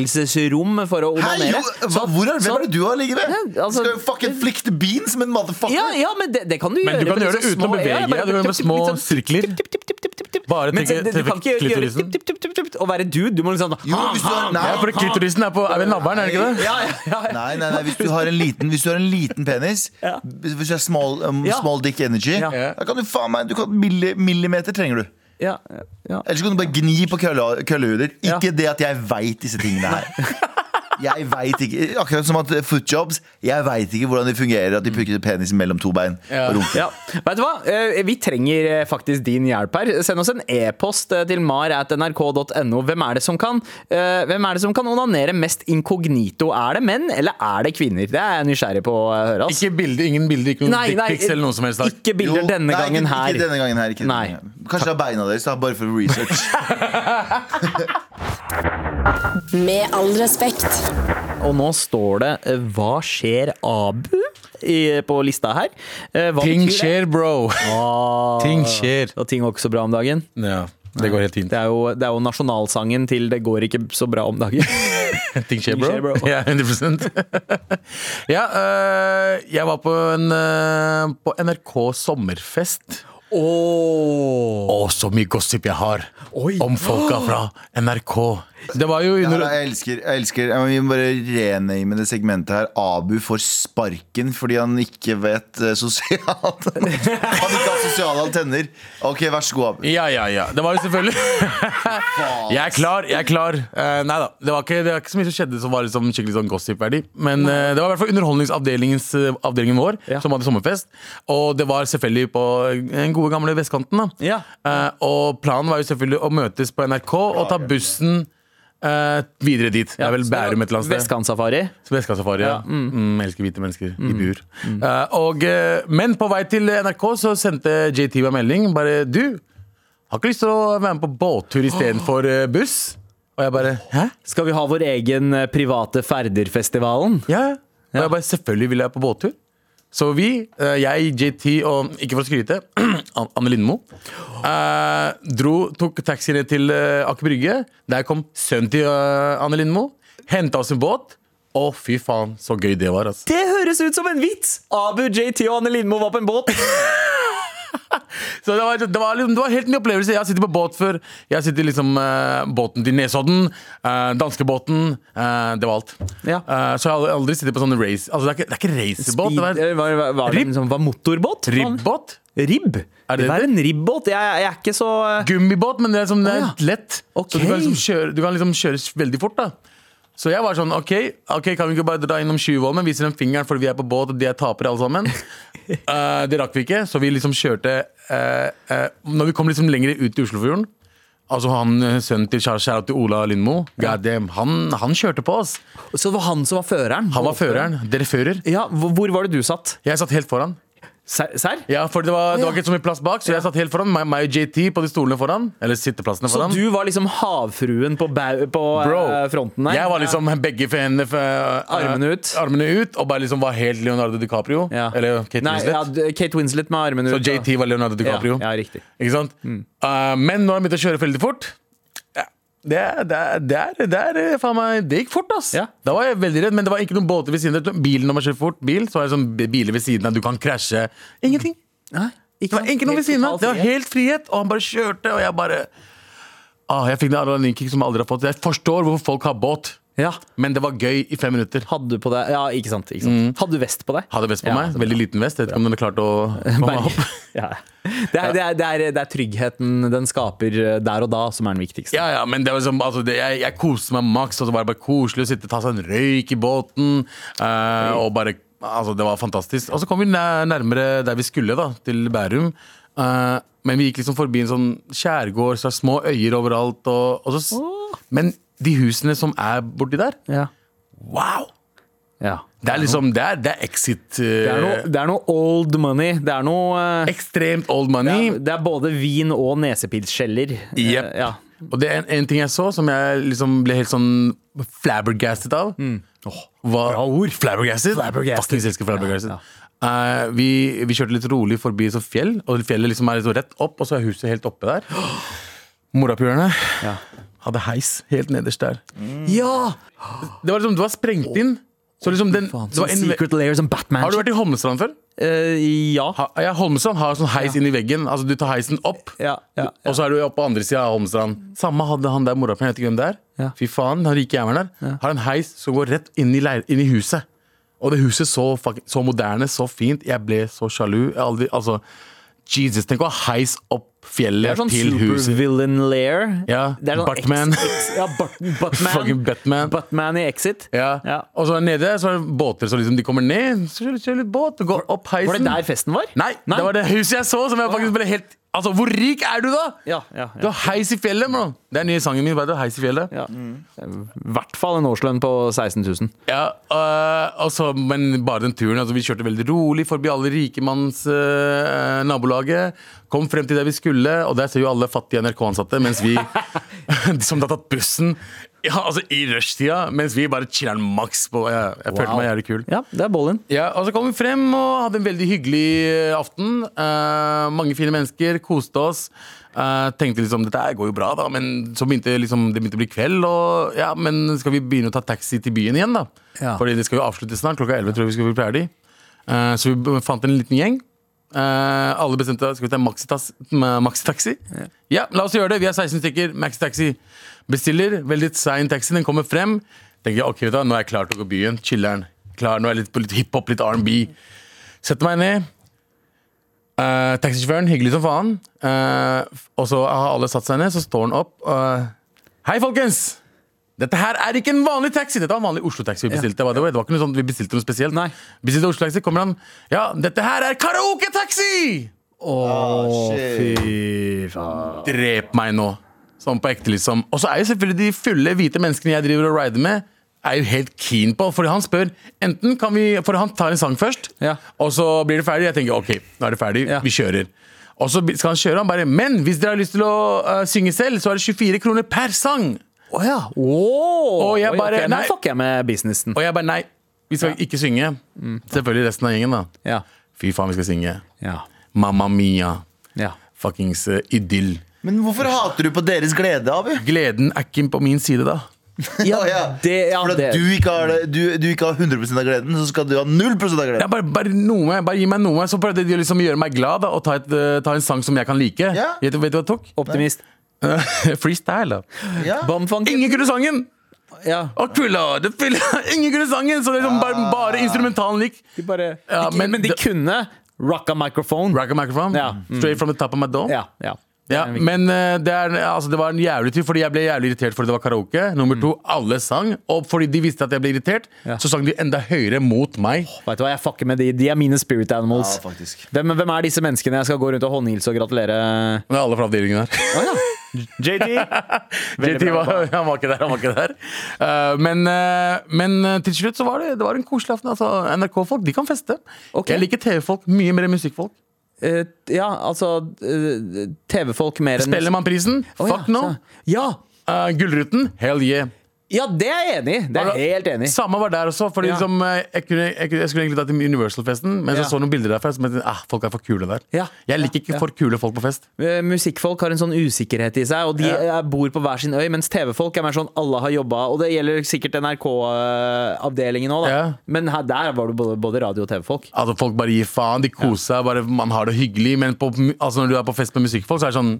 Speaker 3: bevegelsesrom for å
Speaker 2: Hei, jo,
Speaker 3: onanere.
Speaker 2: hva,
Speaker 3: Så-
Speaker 2: hvor er, hvem
Speaker 3: så-
Speaker 2: er det du har ligget ved?
Speaker 3: Ja, altså-
Speaker 2: Skal jo fucking flick the beans med en motherfucker?
Speaker 3: Ja, ja, men det, det kan du
Speaker 4: Men
Speaker 3: gjøre.
Speaker 4: du kan
Speaker 3: med
Speaker 4: gjøre det
Speaker 3: sånne
Speaker 4: uten å
Speaker 3: små- ja,
Speaker 4: bevege
Speaker 3: bare
Speaker 4: deg, du kan
Speaker 3: tup,
Speaker 4: med
Speaker 3: tup,
Speaker 4: små
Speaker 3: litt sånn
Speaker 4: sirkler.
Speaker 3: tup, tup, tup, tup, tup, tup.
Speaker 4: Bare
Speaker 3: Men
Speaker 4: trekke-
Speaker 3: det- Du kan
Speaker 4: treffe
Speaker 3: ikke gjøre
Speaker 4: klitorisen.
Speaker 3: tup, tup, tup, tup, tup, tup, og være dude. Du må liksom sånn
Speaker 2: Jo, hvis du har- nei,
Speaker 4: Ja,
Speaker 2: Ja,
Speaker 4: fordi
Speaker 2: faen.
Speaker 4: klitorisen er, på, er ved navlen, er det ikke det?
Speaker 3: Ja, ja, ja, ja.
Speaker 2: Nei, nei, nei, hvis du har en liten, hvis du har en liten penis
Speaker 3: Ja.
Speaker 2: Hvis du er small, um,
Speaker 3: Ja.
Speaker 2: small dick energy
Speaker 3: Ja.
Speaker 2: Da kan du faen meg, du kan milli, millimeter trenger du
Speaker 3: ja, ja.
Speaker 2: Ellers kan du bare gni på kølle, køllehuder
Speaker 3: Ja.
Speaker 2: Ikke det at jeg vet disse tingene her Jeg vet ikke Akkurat som at eh, footjobs Jeg vet ikke hvordan det fungerer At de putter penis mellom to bein
Speaker 4: Ja.
Speaker 2: og rumpe
Speaker 3: Ja. Vet du hva? Eh, Vi trenger eh, faktisk din hjelp her. Send oss en e-post eh, til mar.nrk.no. Hvem er det som kan eh, Hvem er det som kan onanere mest inkognito? Er det menn, eller er det kvinner? Det er jeg nysgjerrig på å høre. ass.
Speaker 4: Ikke bilde, ingen bilder, ikke noen
Speaker 3: Nei, nei,
Speaker 4: dickpics eller noe som helst.
Speaker 3: Ikke bilder
Speaker 2: Jo,
Speaker 3: denne
Speaker 2: nei, ikke-
Speaker 3: gangen her.
Speaker 2: Ikke denne gangen her ikke denne
Speaker 3: Nei.
Speaker 2: gangen. Kanskje det er beina deres da, Bare for research
Speaker 5: Med all respekt.
Speaker 3: Og nå står det eh, 'Hva skjer, Abu?' I, på lista her. Eh, Hva
Speaker 4: Ting
Speaker 3: betyr det?
Speaker 4: skjer, bro.
Speaker 3: Ah,
Speaker 4: Ting skjer.
Speaker 3: Og ting går ikke så bra om dagen.
Speaker 4: Ja, det går helt fint.
Speaker 3: Det er jo, det er jo nasjonalsangen til 'Det går ikke så bra om dagen'.
Speaker 4: *laughs* Ting skjer,
Speaker 3: Ting skjer,
Speaker 4: bro.
Speaker 3: bro.
Speaker 4: Ja, 100 *laughs* Ja, øh, jeg var på en øh, På NRK sommerfest. Å, så mye gossip jeg har om folka fra NRK. Det var jo
Speaker 2: Ja,
Speaker 4: under
Speaker 2: da, jeg elsker, jeg elsker jeg må- Vi må bare rename det segmentet her Abu får sparken fordi han ikke vet eh, sosialt *laughs* Han ikke har sosiale antenner Ok, vær så god Abu
Speaker 4: Ja, ja, ja. Det var jo selvfølgelig Jeg er klar, jeg er klar. Uh, nei da. Det var, ikke, det var ikke så mye som skjedde som var liksom skikkelig sånn gossip-verdig. Men eh, det var i hvert fall underholdningsavdelingens eh, avdelingen vår
Speaker 3: Ja.
Speaker 4: som hadde sommerfest. Og det var selvfølgelig på eh, den gode gamle vestkanten. da
Speaker 3: Ja.
Speaker 4: Eh, Og planen var jo selvfølgelig å møtes på NRK og ta bussen eh, videre dit. Det er vel Bærum et eller annet sted.
Speaker 3: Vestkantsafari.
Speaker 4: Vestkantssafari. Ja. Mm. elsker hvite mennesker i bur. Eh, og, eh, men på vei til NRK så sendte JT meg melding. Bare 'Du, har ikke lyst til å være med på båttur istedenfor uh, buss?' Og jeg bare 'Hæ?'
Speaker 3: Skal vi ha vår egen eh, private Ferderfestivalen?
Speaker 4: Ja, ja. Og jeg bare 'Selvfølgelig vil jeg på båttur'. Så vi, eh, jeg, JT og ikke for å skryte, *clears throat* An- Anne Lindmo, eh, dro, tok taxi ned til uh, Aker Brygge. Der kom sønnen til eh, Anne Lindmo, henta oss en båt. Å, fy faen, så gøy det var, altså.
Speaker 3: Det høres ut som en vits! Abu, JT og Anne Lindmo var på en båt.
Speaker 4: Så det var, det, var, liksom- det var helt ny opplevelse. Jeg har sittet på båt før. Jeg har sittet i liksom, eh, båten til Nesodden, eh, danskebåten. eh, det var alt.
Speaker 3: Ja.
Speaker 4: Eh, så jeg har aldri- aldri sittet på sånn race Altså, det er ikke, det er ikke racerbåt.
Speaker 3: Speed,
Speaker 4: Det var
Speaker 3: eller var, var, var, det
Speaker 4: Ribb.
Speaker 3: liksom, var motorbåt? Sånn.
Speaker 4: ribbåt.
Speaker 3: Ribb?
Speaker 4: Er det
Speaker 3: det var en ribbåt. Jeg, jeg er ikke så eh,
Speaker 4: Gummibåt, men det er, som, det er
Speaker 3: Å, ja.
Speaker 4: lett. Så
Speaker 3: Ok.
Speaker 4: du kan, liksom kjøre, du kan liksom kjøres veldig fort. da så jeg var sånn, ok, ok, kan vi ikke bare dra innom Tjuvholmen? Viser dem fingeren fordi vi er på båt og de er tapere
Speaker 3: *laughs*
Speaker 4: alle sammen. Eh, det rakk vi ikke, så vi liksom kjørte eh, eh, Når vi kom liksom lenger ut i Oslofjorden Altså han, eh, Sønnen til kjære- kjære til Ola Lindmo, god damn, han, han kjørte på oss.
Speaker 3: Så det var han som var føreren?
Speaker 4: Han var føreren. Dere fører.
Speaker 3: Ja, hvor, hvor var det du satt?
Speaker 4: Jeg satt helt foran.
Speaker 3: Serr? Serr?
Speaker 4: Ja, for det var, det var ikke så mye plass bak, så jeg satt helt foran. Meg- Meg og JT på de stolene foran. Eller sitteplassene
Speaker 3: Så
Speaker 4: foran.
Speaker 3: du var liksom havfruen på, bau- på
Speaker 4: Bro,
Speaker 3: eh, fronten der?
Speaker 4: Jeg var liksom begge for hendene for,
Speaker 3: Armene ut.
Speaker 4: armene ut, Og bare liksom var helt Leonardo DiCaprio.
Speaker 3: Ja.
Speaker 4: Eller Kate
Speaker 3: Nei,
Speaker 4: Winslet.
Speaker 3: ja, d- Kate Winslet med armene
Speaker 4: Så
Speaker 3: ut. da.
Speaker 4: JT var Leonardo DiCaprio.
Speaker 3: Ja, Mm. ja, riktig.
Speaker 4: Ikke sant? Eh, men når han begynte å kjøre veldig fort ja, det, er- det, er- det, er- det, er, faen meg, det gikk fort, ass.
Speaker 3: Ja.
Speaker 4: Da var jeg veldig redd, men det var ikke noen båter ved siden av. Bilen når man kjører fort, bil, så er det sånn biler ved siden av, du kan krasje. Ingenting.
Speaker 3: Nei,
Speaker 4: Det var ikke noe ved siden av. Det var helt frihet, og han bare kjørte, og jeg bare ah, Jeg fikk det adrenalinkick som jeg aldri har fått. Jeg forstår hvorfor folk har båt,
Speaker 3: Ja,
Speaker 4: men det var gøy i fem minutter.
Speaker 3: hadde du på deg Ja, ikke sant. Ikke
Speaker 4: Mm.
Speaker 3: sant. Hadde du vest på *laughs* deg?
Speaker 4: Hadde vest på
Speaker 3: Ja,
Speaker 4: meg.
Speaker 3: så
Speaker 4: Veldig liten vest. Jeg vet ikke om den klarte å
Speaker 3: *laughs*
Speaker 4: komme meg opp.
Speaker 3: Berg. Ja. Det, er, det, er, det, er, det er tryggheten den skaper eh, der og da, som er den viktigste.
Speaker 4: Ja, ja, men det var som, altså, det, jeg, jeg koste meg maks, og så var det bare koselig å sitte ta seg en røyk i båten. eh, og bare, altså, det var fantastisk. Og så kom vi nær- nærmere der vi skulle, da, til Bærum. Eh, men vi gikk liksom forbi en sånn skjærgård, så er det små øyer overalt. Og, og så, s- Men de husene som er borti der,
Speaker 3: Ja.
Speaker 4: wow!
Speaker 3: Ja.
Speaker 4: Det er liksom, det er, det er exit eh,
Speaker 3: Det er, noe, det er noe old money. Det er noe eh,
Speaker 4: Ekstremt old
Speaker 3: det
Speaker 4: money.
Speaker 3: er, det er både vin og nesepilsskjeller. Eh,
Speaker 4: Jep.
Speaker 3: Ja.
Speaker 4: Og det er en, en ting jeg så som jeg liksom ble helt sånn flabbergasted av. var, bra ord! Flabbergasted.
Speaker 3: Mm. Flabbergasted.
Speaker 4: Fuckings elsker
Speaker 3: Ja,
Speaker 4: flabbergasted.
Speaker 3: ja.
Speaker 4: Eh, vi, vi kjørte litt rolig forbi et sånt fjell, og fjellet liksom er liksom rett opp, og så er huset helt oppe der. Morapulerne
Speaker 3: Ja.
Speaker 4: hadde heis helt nederst der.
Speaker 3: ja!
Speaker 4: Det var liksom, det var sprengt inn. Så liksom den,
Speaker 3: Faen, sånn
Speaker 4: det var en,
Speaker 3: Secret Layer som Batman.
Speaker 4: har du vært i Holmestrand før?
Speaker 3: Eh, ja.
Speaker 4: Ha, ja, Holmestrand har sånn heis inn i veggen. Altså Du tar heisen opp,
Speaker 3: Ja, ja,
Speaker 4: og så er du oppe på andre sida av Holmestrand. Samme hadde han der morapuleren, jeg vet ikke hvem det er.
Speaker 3: Ja.
Speaker 4: Fy faen, han rike jævelen der. Har en heis som går rett inn i, leir, inn i huset. Og det huset så, fuck- så moderne, så fint. Jeg ble så sjalu. Jeg aldri, altså, Jesus, tenk å ha heis opp
Speaker 3: Det
Speaker 4: fjellet
Speaker 3: er sånn
Speaker 4: til huset.
Speaker 3: supervillain layer.
Speaker 4: Ja,
Speaker 3: Det er sånn
Speaker 4: Batman.
Speaker 3: X, X, ja,
Speaker 4: *laughs*
Speaker 3: Bat Batman.
Speaker 4: Fucking Batman.
Speaker 3: Batman i Exit.
Speaker 4: Ja.
Speaker 3: Ja.
Speaker 4: Og så nede så er det båter, så liksom de kommer ned, så kjører kjører litt båt, og går opp heisen.
Speaker 3: Var det der festen var?
Speaker 4: Nei, det var det huset jeg så som jeg faktisk ble helt Altså, hvor rik er du da?
Speaker 3: Ja, ja,
Speaker 4: Du
Speaker 3: ja.
Speaker 4: har heis i fjellet, bro. Det er nye sangen min, bare du har heis i fjellet.
Speaker 3: ja.
Speaker 4: Ja,
Speaker 2: Mm.
Speaker 3: I hvert fall en årslønn på 16 000.
Speaker 4: øh, og så- men bare den turen, altså vi kjørte veldig rolig forbi alle rikemanns øh, nabolaget, kom frem til der vi skulle, og der ser jo alle fattige NRK-ansatte,
Speaker 3: *laughs*
Speaker 4: mens vi, *laughs* de som har tatt bussen, ja, altså i rushtida, mens vi bare chiller'n maks på, jeg, jeg følte meg jævlig kul.
Speaker 3: Ja, det er Bollin.
Speaker 4: Ja, og så kom vi frem og hadde en veldig hyggelig eh, aften. Eh, mange fine mennesker, koste oss. Eh, tenkte liksom dette her går jo bra, da, men så begynte liksom, det begynte å bli kveld. Og ja, men skal vi begynne å ta taxi til byen igjen, da?
Speaker 3: Ja.
Speaker 4: Fordi det skal jo avsluttes snart. Klokka 11 tror jeg vi skal bli ferdig. Eh, så vi b- fant en liten gjeng. Eh, alle bestemte skal vi ta maxitas- ma- maxitaxi. Ja. la oss gjøre det. Vi er 16 stykker. Maxitaxi. Bestiller. Veldig sein taxi. Den kommer frem. Tenker jeg, ok, vet du, hva, Nå er jeg klar til å gå byen. Chiller'n. Klar, nå er jeg litt på litt hiphop, litt R&B. Setter meg ned. Eh, taxisjåføren, hyggelig som faen. Eh, f- og så har alle satt seg ned, så står han opp. og, Hei, folkens! Dette her er ikke en vanlig taxi! Dette var en vanlig Oslo-taxi vi bestilte. by the way. Det var ikke noe sånt vi bestilte noe spesielt.
Speaker 3: Nei.
Speaker 4: Bestilte Oslo-taxi, kommer han. Ja, dette her er karaoke-taxi!
Speaker 3: Fy faen.
Speaker 4: Drep meg nå. Sånn på ekte, liksom. Og så er jo selvfølgelig de fulle, hvite menneskene jeg driver og rider med, er jo helt keen på. Fordi han spør enten kan vi For han tar en sang først,
Speaker 3: Ja.
Speaker 4: og så blir det ferdig. Jeg tenker OK, nå er det ferdig,
Speaker 3: Ja.
Speaker 4: vi kjører. Og så skal han kjøre, han bare Men hvis dere har lyst til å øh, synge selv, så er det 24 kroner per sang.
Speaker 3: Å ja. Åh.
Speaker 4: Og jeg
Speaker 3: Oi, ok,
Speaker 4: bare-
Speaker 3: Nå
Speaker 4: nei.
Speaker 3: fucker jeg med businessen.
Speaker 4: Og jeg bare nei, vi skal ikke synge. Selvfølgelig resten av gjengen, da.
Speaker 3: Ja.
Speaker 4: Fy faen, vi skal synge.
Speaker 3: Ja.
Speaker 4: Mamma mia.
Speaker 2: *laughs*
Speaker 3: ja.
Speaker 4: Fuckings eh, idyll.
Speaker 2: Men hvorfor hater du på deres glede, Abu?
Speaker 4: Gleden er ikke på min side, da.
Speaker 3: Ja,
Speaker 2: Å, ja.
Speaker 3: det, ja,
Speaker 2: For
Speaker 3: det.
Speaker 2: at du ikke, har, det- du, du ikke har 100 av gleden, så skal du ha 0 av gleden.
Speaker 4: Ja, bare, bare, noe, bare gi meg noe. Så prøvde de å liksom gjøre meg glad da, og ta, et, eh, ta en sang som jeg kan like.
Speaker 2: Ja.
Speaker 4: Vet, du- vet du hva jeg tok?
Speaker 3: Optimist.
Speaker 4: Freestyle. da
Speaker 2: Ja.
Speaker 3: Bamfunk.
Speaker 4: Ingen kunne sangen!
Speaker 3: Ja.
Speaker 4: Og kulla, det fylla. *laughs* Ingen kunne sangen! Så det er liksom bare, bare instrumentalen gikk.
Speaker 3: De bare,
Speaker 4: Ja,
Speaker 3: de,
Speaker 4: men
Speaker 3: men, de
Speaker 4: det-
Speaker 3: kunne rocka microphone.
Speaker 4: Rack a microphone. Mm.
Speaker 3: Ja.
Speaker 4: Straight from the top of my dome.
Speaker 3: Ja, ja.
Speaker 4: Ja,
Speaker 3: Det er viktig.
Speaker 4: men eh, det, er, altså, det var en jævlig tur, fordi jeg ble jævlig irritert fordi det var karaoke. Nummer to, alle sang. Og fordi de visste at jeg ble irritert,
Speaker 3: Mm. Ja.
Speaker 4: så sang de enda høyere mot meg.
Speaker 3: Vet du hva, jeg fucker med de. De er mine spirit animals.
Speaker 2: Ja, faktisk.
Speaker 3: hvem, hvem er disse menneskene jeg skal gå rundt og håndhilse og gratulere?
Speaker 4: Det er alle fra avdelingen her.
Speaker 3: *laughs* JT.
Speaker 4: *laughs*
Speaker 3: Veldig
Speaker 4: JT
Speaker 3: bra
Speaker 4: var, han var ikke der, han var ikke der. Eh, men, eh, men eh, til slutt så var det, det var en koselig aften. Altså, NRK-folk de kan feste.
Speaker 3: Ok.
Speaker 4: Jeg liker TV-folk mye mer enn musikkfolk.
Speaker 3: Eh, ja, altså eh, TV-folk mer enn
Speaker 4: Spellemannprisen,
Speaker 3: Å, ja,
Speaker 4: fuck no.
Speaker 3: så- Ja!
Speaker 4: Eh, Gullruten, hell yeah.
Speaker 3: Ja, det er jeg enig i! Det er
Speaker 4: Var
Speaker 3: jeg helt enig i.
Speaker 4: Altså, Samme var der også. Fordi
Speaker 3: Ja.
Speaker 4: liksom, eh, jeg, kunne, jeg, kunne- jeg skulle egentlig dra til Universal-festen, men
Speaker 3: Ja.
Speaker 4: så så noen bilder derfra. Så tenkte jeg, ah, folk er for kule der.
Speaker 3: Ja.
Speaker 4: Jeg liker ikke for kule folk på fest.
Speaker 3: Eh, Musikkfolk har en sånn usikkerhet i seg, og de eh, bor på hver sin øy. Mens TV-folk er mer sånn alle har jobba, og det gjelder sikkert NRK-avdelingen òg, da.
Speaker 4: Ja.
Speaker 3: Men her, der var det både- både radio- og TV-folk.
Speaker 4: Altså Folk bare gir faen, de koser seg, bare man har det hyggelig. Men på, mu- altså, når du er på fest med musikkfolk, så er det sånn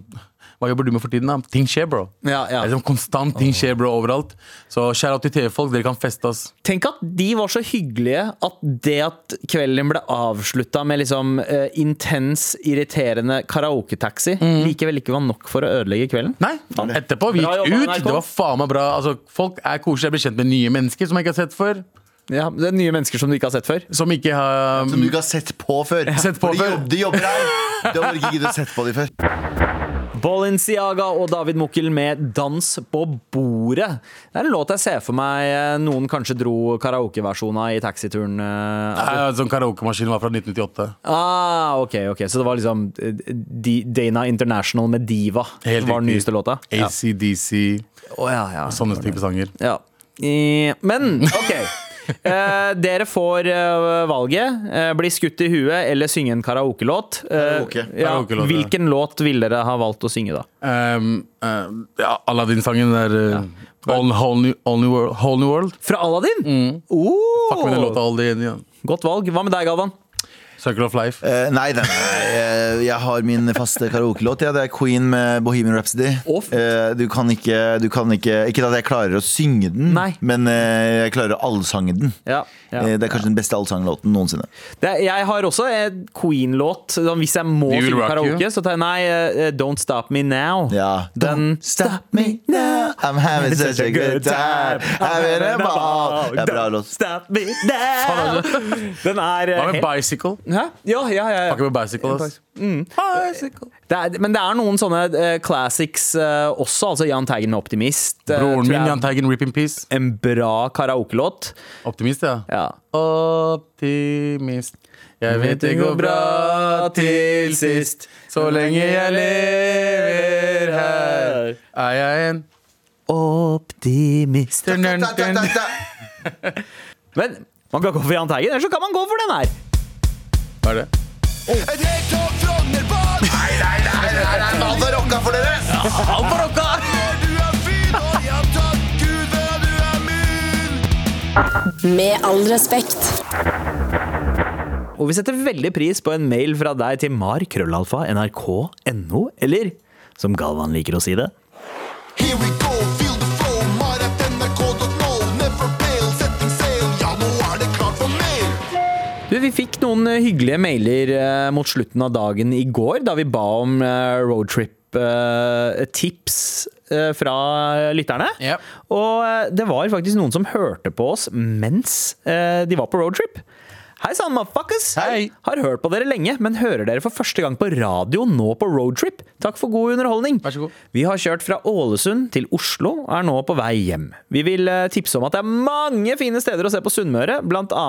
Speaker 4: Hva jobber du med for tiden, da? Ting skjer, bro.
Speaker 3: Ja, ja.
Speaker 4: Det er sånn konstant ting skjer, bro, overalt. Så shout out til TV-folk, dere kan feste oss.
Speaker 3: Tenk at de var så hyggelige at det at kvelden ble avslutta med liksom eh, intens, irriterende karaoketaxi,
Speaker 4: Mm.
Speaker 3: likevel ikke var nok for å ødelegge kvelden.
Speaker 4: Nei, etterpå vi
Speaker 3: Bra
Speaker 4: gikk
Speaker 3: jobba,
Speaker 4: ut.
Speaker 3: NRK.
Speaker 4: Det var faen meg bra. Altså, folk er koselige, jeg blir kjent med nye mennesker som jeg ikke har sett før.
Speaker 3: Ja, det er Nye mennesker som du ikke har sett før.
Speaker 4: Som ikke har
Speaker 2: Som du ikke har sett på før.
Speaker 4: Sett på
Speaker 2: For de
Speaker 4: før.
Speaker 2: jobb- De jobber her. Du har bare ikke giddet å sett på dem før.
Speaker 3: Balenciaga og David Mukkel med 'Dans på bordet'. Det er en låt jeg ser for meg eh, noen kanskje dro karaokeversjonen av i taxituren. eh,
Speaker 4: Nei, Sånn karaokemaskin var fra 1998.
Speaker 3: Ah, ok, ok Så det var liksom eh, D- Dana International med Diva
Speaker 4: Helt
Speaker 3: var den nyeste
Speaker 4: riktig.
Speaker 3: låta? Ja.
Speaker 4: ACDC,
Speaker 3: Å, ja, ja.
Speaker 4: sånne type sanger.
Speaker 3: Ja. Eh, Men OK. Eh, dere får eh, valget. Eh, bli skutt i huet eller synge en karaokelåt. Eh,
Speaker 2: Karaoke.
Speaker 3: ja,
Speaker 4: Karaokelåt, ja.
Speaker 3: hvilken låt ville dere ha valgt å synge, da?
Speaker 4: Um, um, ja, Aladdin-sangen der uh, all, whole, new, all new world, whole New World.
Speaker 3: Fra Aladdin? Oh!
Speaker 4: Fuck med den låta All Day In, ja.
Speaker 3: Godt valg. Hva med deg, Galvan?
Speaker 4: Circle of Life.
Speaker 2: Eh, nei, nei, nei, eh, jeg har min faste karaokelåt. Ja, det er Queen med Bohemian Rhapsody.
Speaker 3: Å, fett.
Speaker 2: Eh, du kan ikke, du kan ikke Ikke at jeg klarer å synge den,
Speaker 3: Nei.
Speaker 2: men eh, jeg klarer å allsange den.
Speaker 3: Ja, ja.
Speaker 2: Eh, det er kanskje den beste allsanglåten noensinne.
Speaker 3: Det, jeg har også en Queen-låt. sånn Hvis jeg må
Speaker 4: We Will
Speaker 3: synge
Speaker 4: Rock You.
Speaker 3: karaoke, så tar jeg nei. eh, Don't Stop Me Now.
Speaker 2: Ja.
Speaker 3: Den-
Speaker 2: Don't stop me now, I'm having such a good time. I'm in a ball. Det er bra låt.
Speaker 3: Stop me now. Den er eh,
Speaker 4: Hva med
Speaker 3: helt-
Speaker 4: Bicycle?
Speaker 3: Hæ? Ja, ja, ja, ja.
Speaker 4: Fuck med Bicycle, ass. Bicycle.
Speaker 3: Det er, men det er noen sånne eh, classics eh, også, altså Jahn Teigen med 'Optimist'. eh, tror
Speaker 4: Broren min,
Speaker 3: jeg er
Speaker 4: Jahn Teigen, rip in peace.
Speaker 3: En bra karaokelåt.
Speaker 4: Optimist, ja.
Speaker 3: Ja.
Speaker 4: Optimist. Jeg vet det går bra til sist. Så lenge jeg lever her, er jeg en
Speaker 3: Optimist
Speaker 4: dun, dun,
Speaker 2: Da, da, da,
Speaker 4: dun.
Speaker 2: da.
Speaker 3: Men man kan gå for Jahn Teigen, eller så kan man gå for den her.
Speaker 4: Hva er det?
Speaker 2: Et helt tog Frogner på! Nei, nei, nei, nei, nei, men han har rocka for dere! Du er fin, og ja takk, Gud, for at du er min!
Speaker 5: Med all respekt.
Speaker 3: Og vi setter veldig pris på en mail fra deg til markrøllalfa.nrk.no, eller som Galvan liker å si det.
Speaker 6: Here we go, feel the flow. Mar at nrk.no. Never fail, setting sail. Ja, nå er det klart for mer.
Speaker 3: Du, Vi fikk noen eh, hyggelige mailer eh, mot slutten av dagen i går, da vi ba om eh, roadtrip-tips eh, fra lytterne.
Speaker 4: Ja.
Speaker 3: Og eh, det var faktisk noen som hørte på oss mens eh, de var på roadtrip. Hei sann, motherfuckers!
Speaker 4: Hei.
Speaker 3: Har hørt på dere lenge, men hører dere for første gang på radio nå på roadtrip. Takk for god underholdning.
Speaker 4: Vær så god.
Speaker 3: Vi har kjørt fra Ålesund til Oslo og er nå på vei hjem. Vi vil eh, tipse om at det er mange fine steder å se på Sunnmøre, bl.a.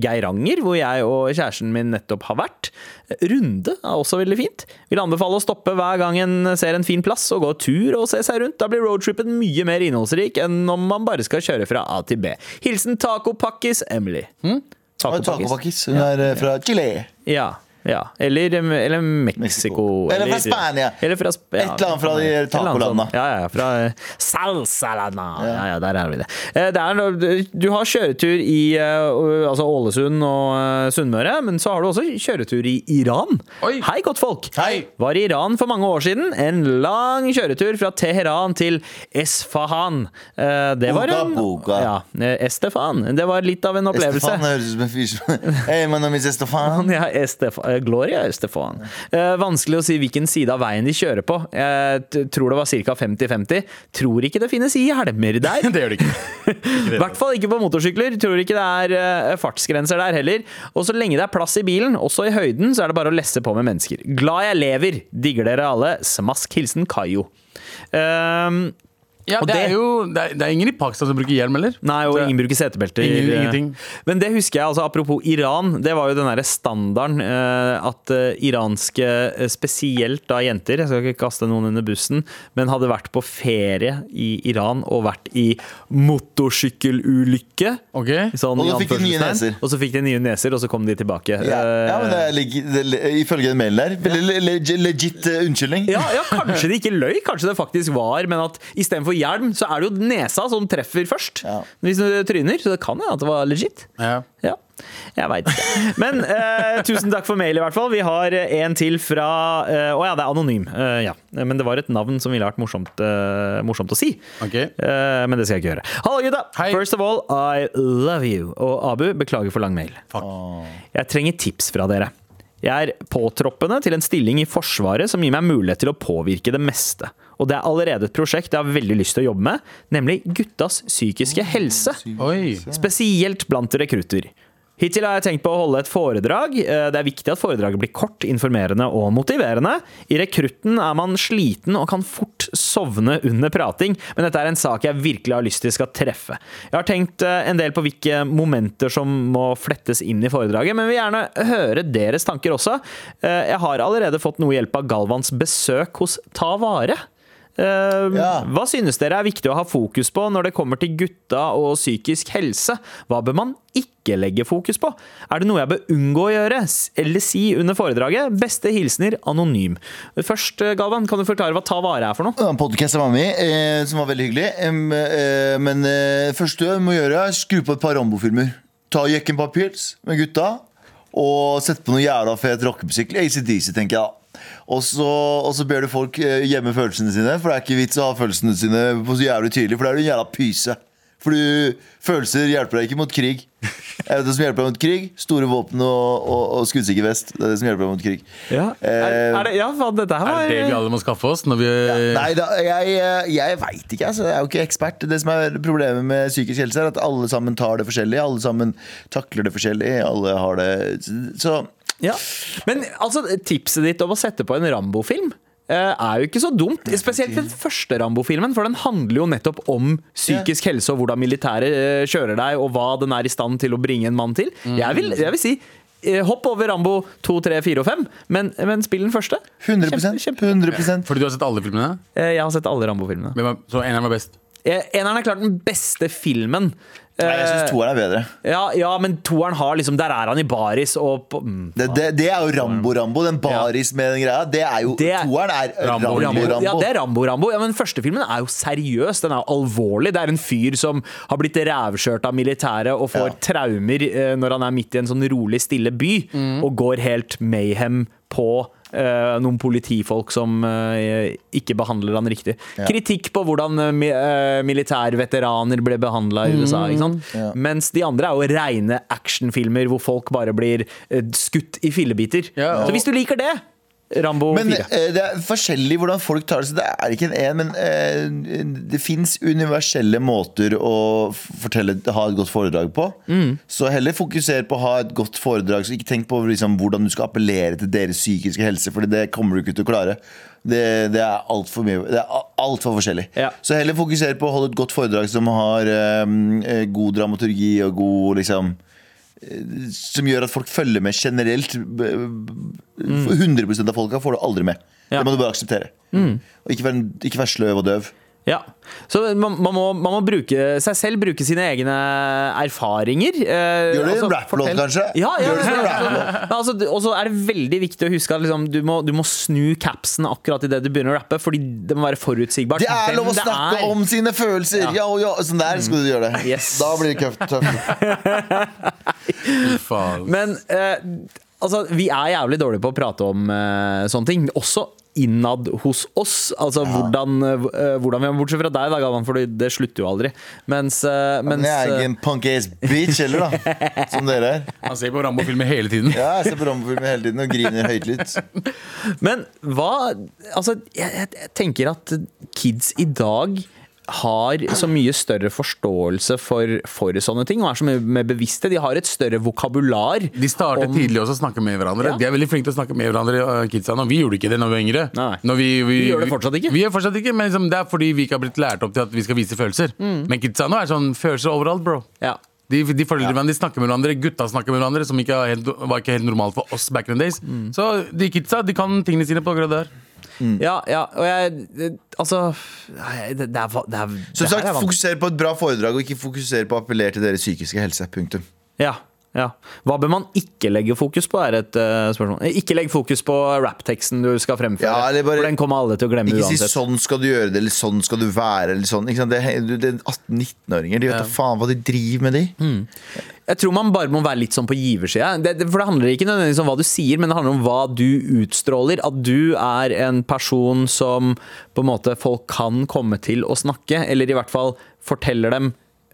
Speaker 3: Geiranger, hvor jeg og kjæresten min nettopp har vært. Eh, Runde er også veldig fint. Vil anbefale å stoppe hver gang en ser en fin plass og gå tur og se seg rundt. Da blir roadtrippen mye mer innholdsrik enn om man bare skal kjøre fra A til B. Hilsen Tacopakkis Emily. Hm?
Speaker 2: Og Tacopakkis. Hun er eh, fra Chile.
Speaker 3: Ja. ja. Eller, um, eller Mexico.
Speaker 2: Mexico. Eller fra Spania.
Speaker 3: Eller fra Sp- ja,
Speaker 2: Et eller annet fra de
Speaker 3: et eller annet
Speaker 2: tacolandene.
Speaker 3: sånt. Ja, ja, ja, fra eh, Salsalanda. Ja, ja, der er vi det. Eh, det er, no- du har kjøretur i eh, altså Ålesund og eh, Sunnmøre, men så har du også kjøretur i Iran.
Speaker 4: Oi.
Speaker 3: Hei, godtfolk!
Speaker 2: Hei.
Speaker 3: Var i Iran for mange år siden. En lang kjøretur fra Teheran til Esfahan. Eh, Det var en
Speaker 2: Boga, boga.
Speaker 3: Ja, eh, Estefan. Det var litt av en opplevelse.
Speaker 2: Estefan høres ut som en fyr som Hey, my name is Estefan.
Speaker 3: Ja, Estef- eh, Gloria Estefan. Eh, vanskelig å si hvilken side av veien de kjører på. Jeg t- tror det var ca. 50-50. Tror ikke det finnes hjelmer der.
Speaker 4: *laughs* Det gjør det
Speaker 3: *laughs*
Speaker 4: ikke.
Speaker 3: I hvert fall ikke på motorsykler. Tror ikke det er eh, fartsgrenser der heller. Og så lenge det er plass i bilen, også i høyden, så er det bare å lesse på med mennesker. Glad jeg lever! Digger dere alle. Smask hilsen Kayo. Ehm,
Speaker 4: Ja,
Speaker 3: Og
Speaker 4: det,
Speaker 3: det-
Speaker 4: er jo, det, er, det er ingen i Pakistan som bruker hjelm, eller?
Speaker 3: Nei, og
Speaker 4: Så-
Speaker 3: ingen bruker setebelter. eh.
Speaker 4: Ingen- ingenting.
Speaker 3: Men det husker jeg, altså apropos Iran. Det var jo den derre standarden eh, at eh, iranske, eh, spesielt da jenter, jeg skal ikke kaste noen under bussen, men hadde vært på ferie i Iran og vært i motorsykkelulykke.
Speaker 4: Ok.
Speaker 3: Sånn,
Speaker 2: Og da
Speaker 3: i
Speaker 2: fikk de nye
Speaker 3: anførselstegn.
Speaker 2: neser.
Speaker 3: Og så fikk de nye neser, og så kom de tilbake.
Speaker 2: Ja, ja, men det
Speaker 3: Eh,
Speaker 2: er lig- det, er- ifølge den mailen der. Veldig le- le- legit eh, unnskyldning.
Speaker 3: ja, ja, kanskje de ikke løy, kanskje det faktisk var, men at istedenfor hjelm, så er det jo nesa som treffer først.
Speaker 2: Ja.
Speaker 3: Hvis du tryner. Så det kan hende at det var legit.
Speaker 4: Ja.
Speaker 3: Ja, jeg veit
Speaker 4: *laughs*
Speaker 3: ikke. Men eh, tusen takk for mail, i hvert fall. Vi har eh, en til fra Å ja, det er anonym. Eh, ja. Men det var et navn som ville vært morsomt, eh, morsomt å si.
Speaker 4: Ok.
Speaker 3: Eh, men det skal jeg ikke gjøre. Hallo, gutta!
Speaker 4: Hei.
Speaker 3: First of all, I love you. Og Abu, beklager for lang mail. Jeg trenger tips fra dere. Jeg er påtroppende til en stilling i Forsvaret som gir meg mulighet til å påvirke det meste. Og det er allerede et prosjekt jeg har veldig lyst til å jobbe med, nemlig guttas psykiske helse.
Speaker 4: Oi.
Speaker 3: Spesielt blant rekrutter. Hittil har jeg tenkt på å holde et foredrag. Eh, Det er viktig at foredraget blir kort, informerende og motiverende. I rekrutten er man sliten og kan fort sovne under prating, men dette er en sak jeg virkelig har lyst til skal treffe. Jeg har tenkt eh, en del på hvilke momenter som må flettes inn i foredraget, men vil gjerne høre deres tanker også. Eh, Jeg har allerede fått noe hjelp av Galvans besøk hos Ta Vare. Eh,
Speaker 2: Ja.
Speaker 3: Hva synes dere er viktig å ha fokus på når det kommer til gutta og psykisk helse? Hva bør man ikke legge fokus på? Er det noe jeg bør unngå å gjøre s- eller si under foredraget? Beste hilsener anonym. Først, eh, Galvan, kan du forklare hva Ta vare er for noe?
Speaker 2: Det var en podcast av mamma mi, eh, som var veldig hyggelig. Em, eh, men eh, første du må gjøre, er skru på et par Rambo-filmer. Ta Jekken på pils med gutta, og sett på noe jævla fet rockemusikk. ACDC, tenker jeg. da. Og så, og så ber du folk eh, gjemme følelsene sine, for det er ikke vits å ha følelsene sine på så jævlig tydelig, for da er du en jævla pyse. For du, følelser hjelper deg ikke mot krig. Er det det som hjelper deg mot krig? Store våpen og, og, og skuddsikker vest. Det er det som hjelper deg mot krig.
Speaker 3: er,
Speaker 2: Eh,
Speaker 3: er det, ja faen, dette her
Speaker 4: Er
Speaker 3: var
Speaker 4: det det vi alle må skaffe oss når vi
Speaker 2: Nei, da, jeg, eh, jeg veit ikke. Altså. Jeg er jo ikke ekspert. Det som er Problemet med psykisk helse er at alle sammen tar det forskjellig. Alle sammen takler det forskjellig. Alle har det Så
Speaker 3: ja. Men altså, tipset ditt om å sette på en Rambo-film eh, er jo ikke så dumt. Spesielt den første Rambo-filmen, for den handler jo nettopp om psykisk helse og hvordan militæret eh, kjører deg, og hva den er i stand til å bringe en mann til. Jeg vil, jeg vil si eh, Hopp over Rambo 2, 3, 4 og 5, men, men spill den første.
Speaker 2: 100
Speaker 3: kjempe.
Speaker 2: 100
Speaker 4: Fordi du har sett alle filmene?
Speaker 3: Eh, Jeg har sett alle Rambo-filmene.
Speaker 4: Hvem er- Så eneren var best.
Speaker 3: Eh, Eneren er klart den beste filmen. Eh,
Speaker 2: Nei, jeg syns toeren er bedre.
Speaker 3: Ja, ja, men toeren har liksom Der er han i baris og på, mm.
Speaker 2: Det, det, det er jo Rambo-Rambo. Den baris med den greia. Det er jo,
Speaker 3: Det er-
Speaker 2: toeren er
Speaker 4: Rambo,
Speaker 2: Rambo-Rambo.
Speaker 4: Rambo.
Speaker 3: Ja, det er Rambo Rambo. Ja, men første filmen er jo seriøs. Den er jo alvorlig. Det er en fyr som har blitt rævkjørt av militæret og får
Speaker 2: Ja.
Speaker 3: traumer eh, når han er midt i en sånn rolig, stille by,
Speaker 4: Mm.
Speaker 3: og går helt mayhem på eh, noen politifolk som eh, ikke behandler han riktig. Kritikk på hvordan eh, mi- eh, militærveteraner ble behandla i USA. Ikke sant? Mens de andre er jo reine actionfilmer hvor folk bare blir eh, skutt i fillebiter.
Speaker 4: Ja, og-
Speaker 3: Så hvis du liker det, Rambo
Speaker 2: Men
Speaker 3: 4.
Speaker 2: eh, det er forskjellig hvordan folk tar det, så det er ikke en én. Men eh, det fins universelle måter å f- fortelle, ha et godt foredrag på. Så heller fokuser på å ha et godt foredrag. Så ikke tenk på liksom, hvordan du skal appellere til deres psykiske helse, Fordi det kommer du ikke til å klare. Det, det er altfor mye Det er a- alt for forskjellig.
Speaker 3: Ja.
Speaker 2: Så heller fokuser på å holde et godt foredrag som har eh, god dramaturgi og god liksom eh, som gjør at folk følger med generelt. b- b- 100 av folka får du aldri med.
Speaker 3: Ja. Mm.
Speaker 2: Det må du bare akseptere. Og ikke være, ikke være sløv og døv.
Speaker 3: Ja, så man, man, må, man må bruke seg selv, bruke sine egne erfaringer. eh,
Speaker 2: Gjør det i en rap-låt,
Speaker 3: fortell-
Speaker 2: kanskje?
Speaker 3: Ja, ja,
Speaker 2: Gjør det i en rap-låt.
Speaker 3: Men altså, du- Og så er det veldig viktig å huske at liksom, du, må, du må snu capsen akkurat idet du begynner å rappe, fordi det må være forutsigbart.
Speaker 2: Det er
Speaker 3: hvem
Speaker 2: lov å
Speaker 3: det
Speaker 2: snakke
Speaker 3: er. Mm.
Speaker 2: om sine følelser! Ja. og ja, Sånn der skal du gjøre det.
Speaker 3: Yes.
Speaker 2: Da blir det køft-
Speaker 3: *laughs*
Speaker 2: tøft.
Speaker 4: Faen.
Speaker 3: Men eh, altså, vi er jævlig dårlige på å prate om eh, sånne ting. Også innad hos oss. Altså hvordan, eh, hvordan vi Bortsett fra deg, da, Galvan, for det slutter jo aldri. Mens, eh, mens
Speaker 2: Men jeg er ikke en punk-ass bitch
Speaker 3: *laughs*
Speaker 2: heller, da. Som dere er.
Speaker 4: Han ser på Rambo-filmer hele tiden.
Speaker 2: Ja, jeg ser på Rambo-filmer hele tiden og griner høylytt.
Speaker 3: Men hva Altså, jeg, jeg, jeg tenker at kids i dag har så mye større forståelse for, for sånne ting, og er så mye mer bevisste. De har et større vokabular.
Speaker 4: De startet
Speaker 3: om-
Speaker 4: tidlig også å snakke med hverandre.
Speaker 3: Ja.
Speaker 4: De er veldig flinke til å snakke med hverandre, øh, kidsa nå. Vi gjorde ikke det når vi var yngre.
Speaker 3: Nei.
Speaker 4: Når vi,
Speaker 3: Vi gjør det fortsatt ikke.
Speaker 4: Vi gjør fortsatt ikke, men liksom, det er fordi vi ikke har blitt lært opp til at vi skal vise følelser. Men kidsa nå er sånn følelser overalt, bro.
Speaker 3: Mm. Ja.
Speaker 4: De, de følger hverandre, de snakker med hverandre, gutta snakker med hverandre, som ikke er helt, var ikke helt normalt for oss back in the days.
Speaker 3: Mm.
Speaker 4: Så de kidsa, de kan tingene sine på grad der.
Speaker 3: ja, ja. Og jeg Altså nei, Det, det er, va- det er
Speaker 2: Som
Speaker 3: det her
Speaker 2: sagt,
Speaker 3: er vanskelig.
Speaker 2: fokuser på et bra foredrag, og ikke fokuser på å appellere til deres psykiske helse. Punktum.
Speaker 3: Ja, ja. Hva bør man ikke legge fokus på, er et eh, spørsmål. Ikke legg fokus på rappteksten du skal fremføre.
Speaker 2: Ja, eller bare-
Speaker 3: for den kommer alle til å glemme
Speaker 2: Ikke si
Speaker 3: uansett.
Speaker 2: 'sånn skal du gjøre det', eller 'sånn skal du være'. Eller sånn. ikke sant? Det er, det er 18-19-åringer. De vet da faen hva de driver med, de.
Speaker 3: Jeg tror man bare må være litt sånn på giversida. Det, det, for det handler ikke nødvendigvis om hva du sier, men det handler om hva du utstråler. At du er en person som på en måte folk kan komme til å snakke, eller i hvert fall forteller dem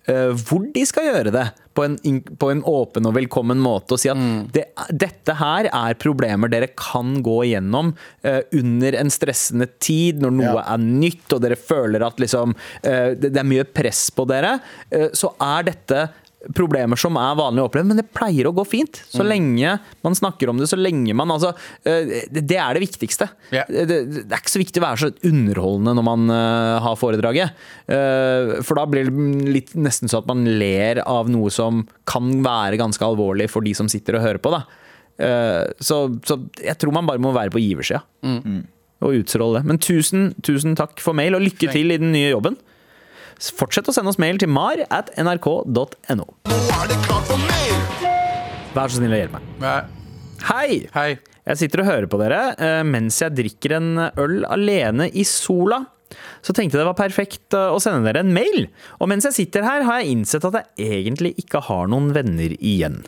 Speaker 3: eh, hvor de skal gjøre det. På en, in- på en åpen og velkommen måte, og si at det, dette her er problemer dere kan gå igjennom eh, under en stressende tid, når noe
Speaker 2: Ja.
Speaker 3: er nytt, og dere føler at liksom, eh, det, det er mye press på dere, eh, så er dette problemer som er vanlig å oppleve, men det pleier å gå fint. Så lenge man snakker om det, så lenge man altså, eh, Det det er det viktigste.
Speaker 4: Ja.
Speaker 3: Det, det det er ikke så viktig å være så underholdende når man eh, har foredraget. Eh, for da blir det litt, nesten så at man ler av noe som kan være ganske alvorlig for de som sitter og hører på. Da. Eh, så, så jeg tror man bare må være på giversida og utstråle det. Men tusen, tusen takk for mail, og lykke til i den nye jobben. Fortsett å sende oss mail til mar at nrk.no.
Speaker 6: Nå er det klart for mer.
Speaker 3: Vær så snill å hjelpe meg.
Speaker 4: Nei,
Speaker 3: Hei!
Speaker 4: Hei.
Speaker 3: Jeg sitter og hører på dere eh, mens jeg drikker en øl alene i sola. Så tenkte jeg det var perfekt eh, å sende dere en mail. Og mens jeg sitter her, har jeg innsett at jeg egentlig ikke har noen venner igjen.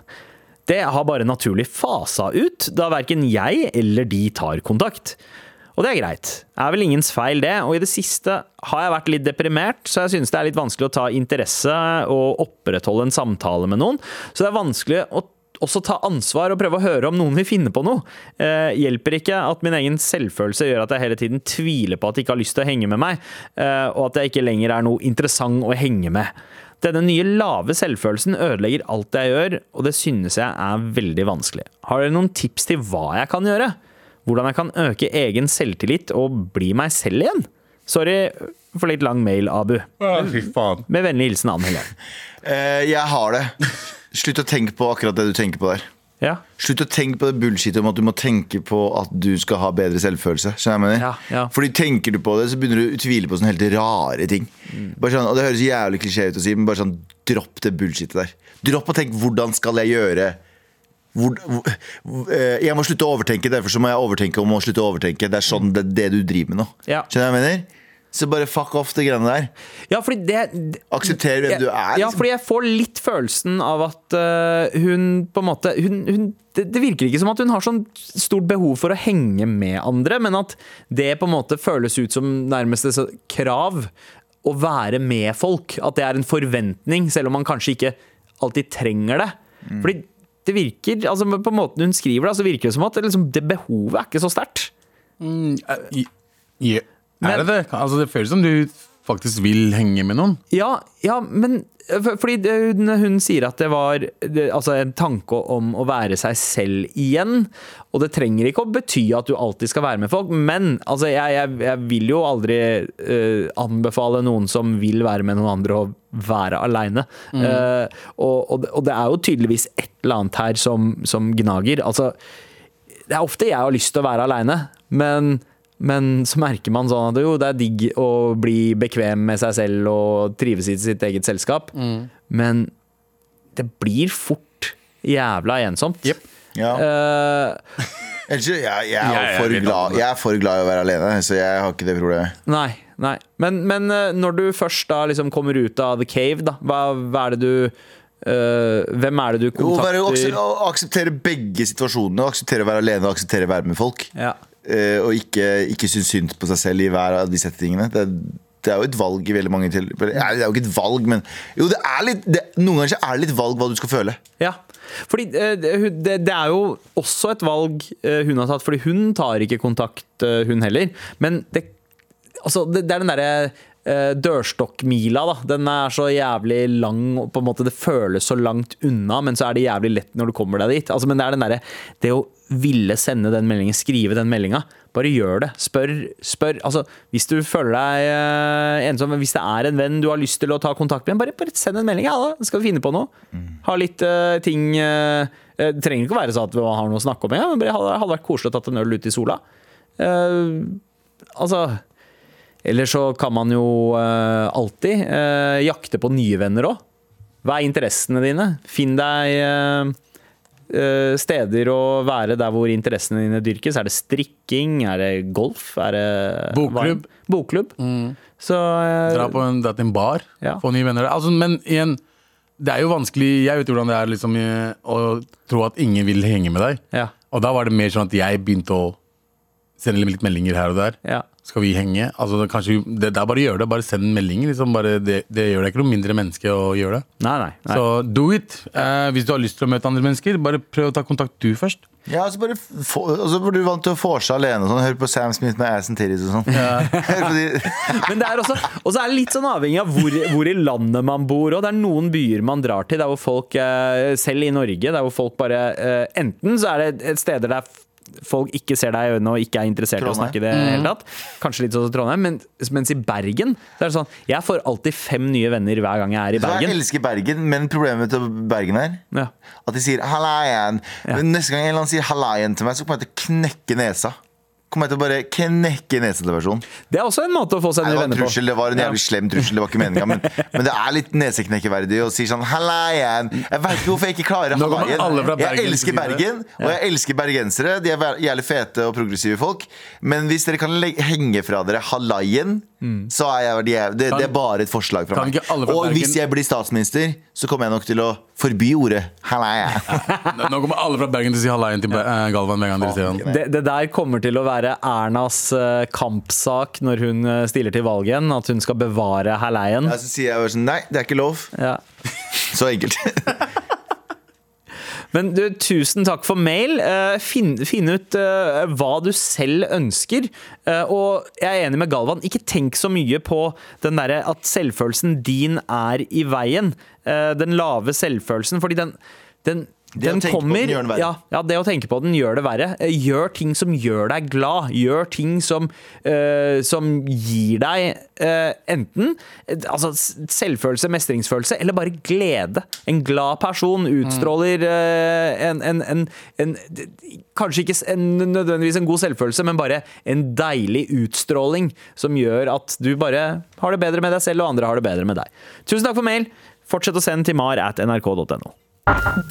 Speaker 3: Det har bare naturlig fasa ut, da verken jeg eller de tar kontakt. Og det er greit. Det er vel ingens feil, det. Og i det siste har jeg vært litt deprimert, så jeg synes det er litt vanskelig å ta interesse og opprettholde en samtale med noen. Så det er vanskelig å også ta ansvar og prøve å høre om noen vil finne på noe. Eh, hjelper ikke at min egen selvfølelse gjør at jeg hele tiden tviler på at de ikke har lyst til å henge med meg, eh, og at jeg ikke lenger er noe interessant å henge med. Denne nye lave selvfølelsen ødelegger alt jeg gjør, og det synes jeg er veldig vanskelig. Har dere noen tips til hva jeg kan gjøre? Hvordan jeg kan øke egen selvtillit og bli meg selv igjen? Sorry for litt lang mail, Abu.
Speaker 4: Fy faen.
Speaker 3: Med vennlig hilsen Ann Helen.
Speaker 2: Eh, jeg har det. Slutt å tenke på akkurat det du tenker på der.
Speaker 3: Ja.
Speaker 2: Slutt å tenke på det bullshit om at du må tenke på at du skal ha bedre selvfølelse. Skjønner du hva jeg mener?
Speaker 3: Ja, ja.
Speaker 2: Fordi tenker du på det, så begynner du å tvile på sånne helt rare ting.
Speaker 3: Mm.
Speaker 2: Bare sånn, og Det høres jævlig klisjé ut å si, men bare sånn, dropp det bullshitet der. Dropp å tenke 'hvordan skal jeg gjøre'? Hvor, hvor, eh, jeg må slutte å overtenke, derfor så må jeg overtenke om å slutte å overtenke. Det er sånn det, det du driver med nå.
Speaker 3: Ja.
Speaker 2: Skjønner du hva jeg mener? Så bare fuck off de greiene der.
Speaker 3: ja, fordi det
Speaker 2: Aksepter hvem du er.
Speaker 3: Ja,
Speaker 2: liksom.
Speaker 3: fordi jeg får litt følelsen av at eh, hun på en måte hun, hun, det, det virker ikke som at hun har sånn stort behov for å henge med andre, men at det på en måte føles ut som nærmest et sånt krav å være med folk. At det er en forventning, selv om man kanskje ikke alltid trenger det.
Speaker 2: Mm.
Speaker 3: Fordi det virker, altså på måten hun skriver det, så virker det som at det, liksom, det behovet er ikke så sterkt.
Speaker 4: Eh, I- Ja.
Speaker 3: Men-
Speaker 4: Er det det? Altså, det føles som du faktisk vil henge med noen.
Speaker 3: Ja, ja men eh, for- fordi det- hun, hun sier at det var det, altså en tanke om å være seg selv igjen. Og det trenger ikke å bety at du alltid skal være med folk, men altså, jeg, jeg, jeg vil jo aldri eh, anbefale noen som vil være med noen andre, å være aleine. og, og, det- og det er jo tydeligvis et eller annet her som, som gnager. Altså, det er ofte jeg har lyst til å være aleine, men, men så merker man sånn at jo, det er digg å bli bekvem med seg selv og trives i sitt eget selskap, men det blir fort jævla ensomt.
Speaker 4: Jep.
Speaker 2: Ja.
Speaker 3: Eh,
Speaker 2: Ellers, så- jeg, jeg, er
Speaker 4: Jeg er
Speaker 2: for
Speaker 4: litt
Speaker 2: glad,
Speaker 4: annerledes.
Speaker 2: jeg er for glad i å være alene, så jeg har ikke det problemet.
Speaker 3: nei, nei. Men, men eh, når du først da liksom kommer ut av the cave, da, hva, hva er det du eh, Hvem er det du
Speaker 2: Jo, bare å akse-
Speaker 3: kontakter?
Speaker 2: å akseptere begge situasjonene. å Akseptere å være alene og akseptere å være med folk.
Speaker 3: Ja.
Speaker 2: Eh, og ikke, ikke synes synd på seg selv i hver av de settingene. Det, er- det er jo et valg i veldig mange tilfeller. Nei, Det er jo ikke et valg, men jo, det er litt, det, noen ganger så er det litt valg hva du skal føle.
Speaker 3: Ja, fordi eh, det, hun- det det er jo også et valg eh, hun har tatt, fordi hun tar ikke kontakt, eh, hun heller. Men det, altså, det, det er den derre eh, dørstokkmila, da. Den er så jævlig lang, og på en måte det føles så langt unna, men så er det jævlig lett når du kommer deg dit. Altså, men det er den derre Det å ville sende den meldingen, skrive den meldinga. Bare gjør det. Spør. spør. Altså, hvis du føler deg eh, ensom, hvis det er en venn du har lyst til å ta kontakt med, bare, bare send en melding. Ja, da skal vi finne på noe. Ha litt eh, ting eh, eh, Det trenger ikke å være sånn at man har noe å snakke om, ja, men det hadde hadde vært koselig å tatt en øl ute i sola. Eh, altså Eller så kan man jo eh, alltid eh, jakte på nye venner òg. Hva er interessene dine? Finn deg eh, eh, steder å være der hvor interessene dine dyrkes. Er det strikking? Er det golf? Er det
Speaker 4: Bokklubb.
Speaker 3: hva- Bokklubb. Så eh,
Speaker 4: Dra på en, dra til en bar,
Speaker 3: Ja.
Speaker 4: få nye venner. Altså, men igjen, det er jo vanskelig Jeg vet hvordan det er liksom, eh, å tro at ingen vil henge med deg.
Speaker 3: Ja.
Speaker 4: Og da var det mer sånn at jeg begynte å sende litt meldinger her og der.
Speaker 3: Ja.
Speaker 4: Skal vi henge? Altså, det, kanskje, vi- det, det er bare å gjøre det. Bare send en melding. Liksom. Bare, det, det gjør deg ikke noe mindre menneske å gjøre det.
Speaker 3: Nei, nei, nei.
Speaker 4: Så do it. Eh, hvis du har lyst til å møte andre mennesker, bare prøv å ta kontakt du først.
Speaker 2: Ja, altså bare få, altså burde du vant til å få seg alene og sånn. Hør på Sam Smith med Assen Titties og sånn. *laughs* Hør på de-
Speaker 3: Men det er også, og så er det litt sånn avhengig av hvor, hvor i landet man bor. Og det er noen byer man drar til, der hvor folk, eh, selv i Norge, der hvor folk bare eh, Enten så er det et steder der folk ikke ser deg i øynene og ikke er interessert i å
Speaker 2: Trondheim.
Speaker 3: snakke i det hele tatt. Kanskje litt sånn som Trondheim, men, mens i Bergen så er det sånn Jeg får alltid fem nye venner hver gang jeg er i
Speaker 2: Jeg
Speaker 3: Bergen.
Speaker 2: elsker Bergen, men problemet til Bergen er
Speaker 3: Ja.
Speaker 2: at de sier 'hallaien'. Men Neste gang en eller annen sier 'hallaien' til meg, så kommer jeg til å knekke nesa. Kommer jeg til å bare knekke nesa til personen.
Speaker 3: Det er også en måte å få seg
Speaker 2: Nei,
Speaker 3: nye
Speaker 2: det var en
Speaker 3: venner på.
Speaker 2: trussel, det var en
Speaker 3: Ja.
Speaker 2: jævlig slem trussel, det var ikke meninga. Men, men det er litt neseknekkeverdig å si sånn Hallaien! Jeg veit ikke hvorfor jeg ikke klarer
Speaker 4: Nå kommer
Speaker 2: hallaien.
Speaker 4: alle fra Bergen
Speaker 2: Jeg
Speaker 4: til å si
Speaker 2: elsker
Speaker 4: det.
Speaker 2: Bergen, og jeg elsker bergensere. De er vær- jævlig fete og progressive folk. Men hvis dere kan le- henge fra dere hallaien, så er jeg, de er, det, det er bare et forslag fra
Speaker 4: Mm. Kan
Speaker 2: meg.
Speaker 4: ikke alle fra
Speaker 2: Og
Speaker 4: Bergen-
Speaker 2: hvis jeg blir statsminister, så kommer jeg nok til å forby ordet
Speaker 4: *laughs*
Speaker 2: hallaien.
Speaker 4: Nå nå kommer alle fra Bergen til å si halleien til Be- eh, Galvan hver gang dere ser han.
Speaker 3: Det, det der kommer til å være Ernas eh, kampsak når hun eh, stiller til valg igjen. At hun skal bevare herleien.
Speaker 2: Ja, Så sier jeg bare sånn Nei, det er ikke lov.
Speaker 3: Ja.
Speaker 2: Så enkelt.
Speaker 3: Men du, tusen takk for mail. Eh, Finn, finn ut eh, hva du selv ønsker. Eh, Og jeg er enig med Galvan, ikke tenk så mye på den derre at selvfølelsen din er i veien. Eh, Den lave selvfølelsen, fordi den, den
Speaker 2: Det å
Speaker 3: den
Speaker 2: tenke på
Speaker 3: kommer,
Speaker 2: den gjør den verre.
Speaker 3: Ja, ja, det å tenke på den gjør det verre. Eh, Gjør ting som gjør deg glad. Gjør ting som, eh, som gir deg eh, enten eh, altså, s- selvfølelse, mestringsfølelse, eller bare glede. En glad person utstråler eh, en, en, en, en d- Kanskje ikke s- en, nødvendigvis en god selvfølelse, men bare en deilig utstråling som gjør at du bare har det bedre med deg selv, og andre har det bedre med deg. Tusen takk for mail. Fortsett å sende til mar at nrk.no.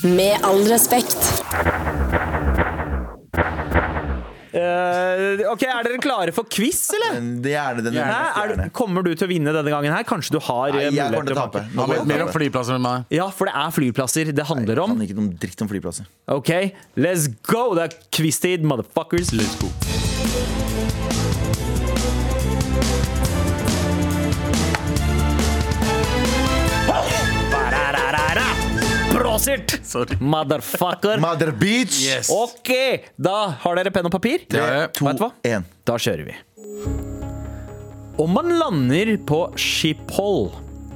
Speaker 5: Med all respekt.
Speaker 3: Eh, ok, Er dere klare for quiz, eller?
Speaker 2: Det er gjerne den
Speaker 3: Hæ? Er du,
Speaker 2: gjerne.
Speaker 3: kommer du til å vinne denne gangen her? Kanskje du har
Speaker 2: Nei, jeg
Speaker 3: eh,
Speaker 2: kommer
Speaker 3: mulighet
Speaker 2: til å tape.
Speaker 3: banke?
Speaker 2: Nå
Speaker 4: Han
Speaker 2: går
Speaker 4: vet
Speaker 2: jeg
Speaker 4: mer
Speaker 2: og
Speaker 4: om
Speaker 2: taper.
Speaker 4: flyplasser enn meg.
Speaker 3: Ja, for det er flyplasser det handler om.
Speaker 2: Kan ikke noe dritt om flyplasser.
Speaker 3: Ok, let's go! Det er quiz-tid, motherfuckers. Let's go. Bråsert! Motherfucker.
Speaker 2: Mother Beach!
Speaker 3: Ok, da har dere penn og papir?
Speaker 2: Tre, to,
Speaker 3: Vet du hva?
Speaker 2: en.
Speaker 3: Da kjører vi. Om man lander på Schiphol,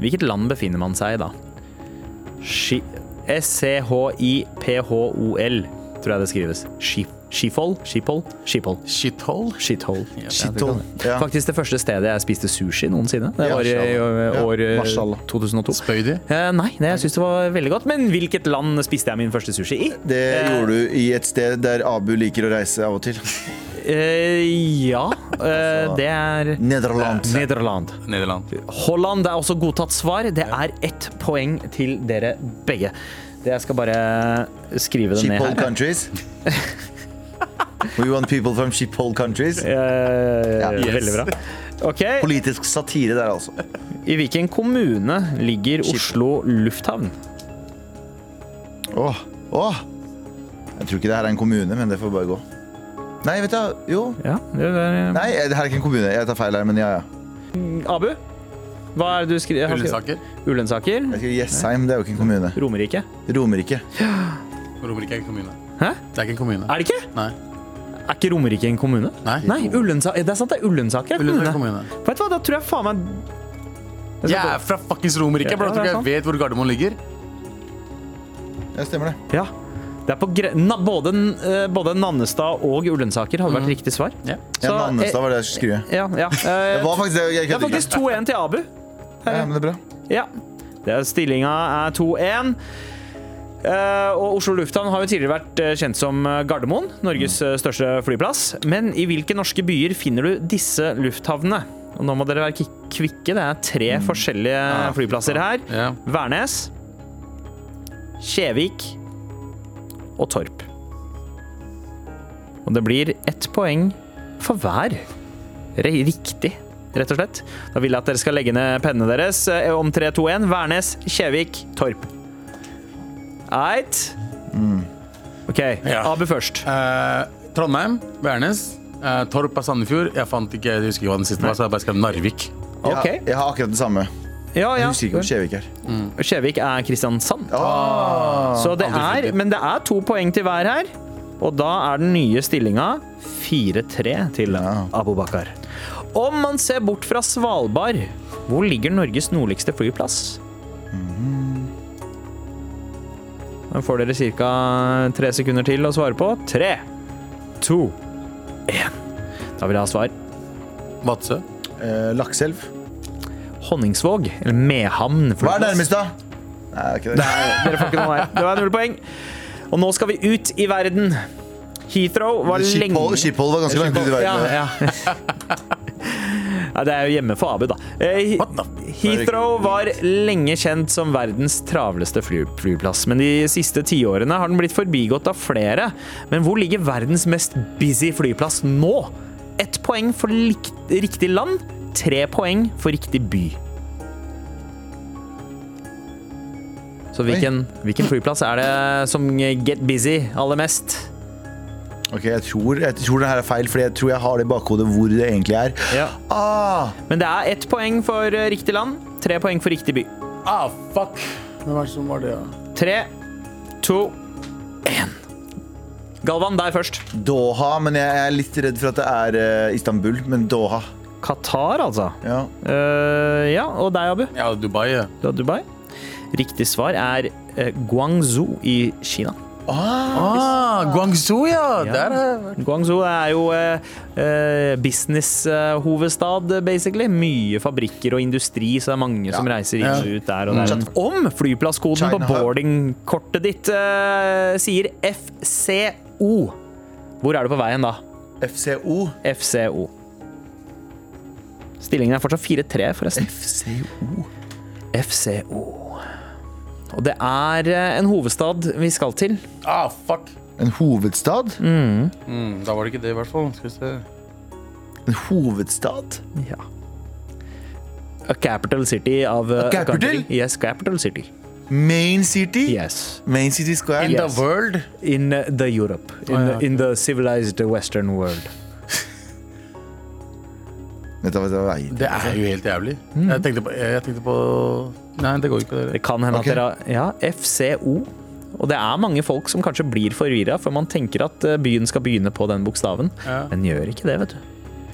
Speaker 3: hvilket land befinner man seg i da? Schi- S-C-H-I-P-H-O-L, tror jeg det skrives. Schi- Schiphol? Schiphol? Schiphol.
Speaker 4: Shithole?
Speaker 3: Shithole.
Speaker 2: Shithole, ja.
Speaker 3: Faktisk det første stedet jeg spiste sushi noensinne. Det
Speaker 2: Ja,
Speaker 3: var i
Speaker 2: mashallah.
Speaker 3: ø,
Speaker 2: Ja,
Speaker 3: år eh, ø,
Speaker 2: mashallah.
Speaker 3: 2002.
Speaker 4: Spøy de?
Speaker 3: Eh, Nei, det, jeg syns det var veldig godt. Men hvilket land spiste jeg min første sushi i?
Speaker 2: Det gjorde du i et sted der Abu liker å reise av og til.
Speaker 3: Eh,
Speaker 2: *laughs*
Speaker 3: ja,
Speaker 2: Altså-
Speaker 3: eh, det er
Speaker 2: Nederland.
Speaker 3: Nederland.
Speaker 4: Nederland.
Speaker 3: Holland er også godtatt svar. Det er ett poeng til dere begge. Det- Jeg skal bare skrive det ned
Speaker 2: Sheephole
Speaker 3: her.
Speaker 2: countries. We want people from sheephole countries.
Speaker 3: Eh,
Speaker 2: yes.
Speaker 3: Veldig bra. Ok,
Speaker 2: Politisk satire der, altså.
Speaker 3: I hvilken kommune ligger Oslo lufthavn?
Speaker 2: Åh, åh. Jeg tror ikke det her er en kommune, men det får bare gå. Nei, vet du Jo.
Speaker 3: Ja, det er, eh,
Speaker 2: Nei, eh, det her er ikke en kommune. Jeg tar feil her, men ja, ja.
Speaker 3: Abu? Hva er det du skriver?
Speaker 4: Ullensaker?
Speaker 3: Ullensaker?
Speaker 2: Jeg skriver Jessheim, det er jo ikke en kommune.
Speaker 3: Romerike?
Speaker 2: Romerike.
Speaker 4: Romerike er ikke en kommune.
Speaker 3: Hæ?
Speaker 4: Det er ikke en kommune.
Speaker 3: Er det ikke?
Speaker 4: Nei.
Speaker 3: Er ikke Romerike en kommune?
Speaker 4: Nei.
Speaker 3: Nei Ullensa det er sant, det er Ullensaker. er
Speaker 4: Ullensaker
Speaker 3: kommune.
Speaker 4: kommune.
Speaker 3: Vet du hva, da tror jeg faen meg
Speaker 4: Jeg er fra fuckings Romerike, bro.
Speaker 3: Ja,
Speaker 4: Tror
Speaker 3: det er
Speaker 4: ikke jeg
Speaker 3: sant.
Speaker 4: vet hvor Gardermoen ligger.
Speaker 2: Ja, stemmer det.
Speaker 3: Ja. Det er på gre na, både, eh, både Nannestad og Ullensaker hadde vært riktig svar.
Speaker 4: Ja.
Speaker 2: Ja,
Speaker 3: Så,
Speaker 2: Nannestad
Speaker 3: eh,
Speaker 2: var det jeg skulle skrive.
Speaker 3: Ja, *laughs* ja. eh,
Speaker 2: Det var faktisk det jeg
Speaker 3: det er
Speaker 2: kødder
Speaker 3: faktisk
Speaker 2: ikke.
Speaker 3: 2-1 til Abu.
Speaker 2: Ja, men det er bra.
Speaker 3: Ja. Det er, stillinga er 2-1. Eh, og Oslo lufthavn har jo tidligere vært eh, kjent som eh, Gardermoen, Norges eh, største flyplass. Men i hvilke norske byer finner du disse lufthavnene? Og nå må dere være ki- kvikke. Det er tre forskjellige flyplasser her.
Speaker 4: Ja.
Speaker 3: Værnes, Kjevik og Torp. Og det blir ett poeng for hver. Re- Riktig, rett og slett. Da vil jeg at dere skal legge ned pennene deres eh, om 3, 2, 1. Værnes, Kjevik, Torp. Eit. OK.
Speaker 4: Ja.
Speaker 3: Abu først.
Speaker 4: Eh, Trondheim, Værnes, Eh, Torp er Sandefjord. Jeg fant ikke, jeg husker ikke hva den siste var, så jeg bare skrev Narvik.
Speaker 2: Jeg, har-
Speaker 3: Ok.
Speaker 2: jeg har akkurat det samme.
Speaker 3: Ja,
Speaker 2: Jeg
Speaker 3: ja.
Speaker 2: husker ikke om Skjevik er.
Speaker 3: Skjevik er Kristiansand.
Speaker 2: Ah.
Speaker 3: Så det er, men det er to poeng til hver her. Og da er den nye stillinga 4-3 til Abubakar. Om man ser bort fra Svalbard, hvor ligger Norges nordligste flyplass? Da får dere ca. tre sekunder til å svare på. Tre, to, én. Da vil jeg ha svar.
Speaker 4: Vadsø.
Speaker 2: Eh, Lakselv.
Speaker 3: Honningsvåg, eller
Speaker 2: Hva
Speaker 3: Mehamn.
Speaker 2: er
Speaker 3: flyplass.
Speaker 2: nærmest, da? Nei, det er ikke det.
Speaker 3: Dere får ikke noe her. Det var null poeng. Og nå skal vi ut i verden. Heathrow var
Speaker 2: Schiphol,
Speaker 3: lenge
Speaker 2: Schiphol var ganske langt ute i verden.
Speaker 3: Ja, ja. ja, det er jo hjemme for Abu, da. Eh, Heathrow var lenge kjent som verdens travleste fly flyplass, men de siste tiårene har den blitt forbigått av flere. Men hvor ligger verdens mest busy flyplass nå? Ett poeng for likt, riktig land, tre poeng for riktig by. Så hvilken, hvilken flyplass er det som get busy aller mest?
Speaker 2: Ok, jeg tror, jeg tror det her er feil, for jeg tror jeg har det i bakhodet hvor det egentlig er.
Speaker 3: Ja.
Speaker 2: Ah,
Speaker 3: Men det er ett poeng for eh, riktig land, tre poeng for riktig by.
Speaker 4: Ah, fuck! Hvem var det som var det, da?
Speaker 3: Tre, to, én. Galvan, deg først.
Speaker 2: Doha, men jeg er litt redd for at det er eh, Istanbul. Men Doha.
Speaker 3: Qatar, altså.
Speaker 2: Ja.
Speaker 3: Eh, ja, og deg, Abu.
Speaker 4: Ja, Dubai. ja.
Speaker 3: Du har Dubai. Riktig svar er eh, Guangzhou i Kina.
Speaker 4: Ah, Guangzhou, ja! Der har jeg vært.
Speaker 3: Guangzhou er jo eh, eh, business-hovedstad, basically. Mye fabrikker og industri, så det er mange som reiser inn og ut der. Og der. Om flyplasskoden
Speaker 2: China
Speaker 3: på
Speaker 2: Hub.
Speaker 3: boardingkortet ditt eh, sier FCO, hvor er du på veien da?
Speaker 2: FCO.
Speaker 3: FCO. Stillingen er fortsatt 4-3, forresten.
Speaker 2: FCO.
Speaker 3: FCO. Og det er eh, en hovedstad vi skal til.
Speaker 4: Ah, fuck!
Speaker 2: En hovedstad?
Speaker 4: Mm, da var det ikke det, i hvert fall. Skal vi se.
Speaker 2: En hovedstad?
Speaker 3: Ja. A capital city of eh,
Speaker 2: A capital?
Speaker 3: country. Yes, capital city.
Speaker 2: Main City?
Speaker 3: Yes.
Speaker 2: Main City Square?
Speaker 4: In
Speaker 3: Yes.
Speaker 4: the world.
Speaker 3: In eh, the Europe. In,
Speaker 4: Å, ja, ok.
Speaker 3: in the civilized western world.
Speaker 2: Vet du hva det er veien?
Speaker 4: Det er jo helt jævlig. Jeg, tenkte på, jeg tenkte på Nei, det går ikke.
Speaker 3: Det
Speaker 4: Dere.
Speaker 3: kan hende
Speaker 2: Ok.
Speaker 3: at dere har Ja, FCO. Og det er mange folk som kanskje blir forvirra, for man tenker at eh, byen skal begynne på den bokstaven,
Speaker 4: Ja.
Speaker 3: men gjør ikke det, vet du.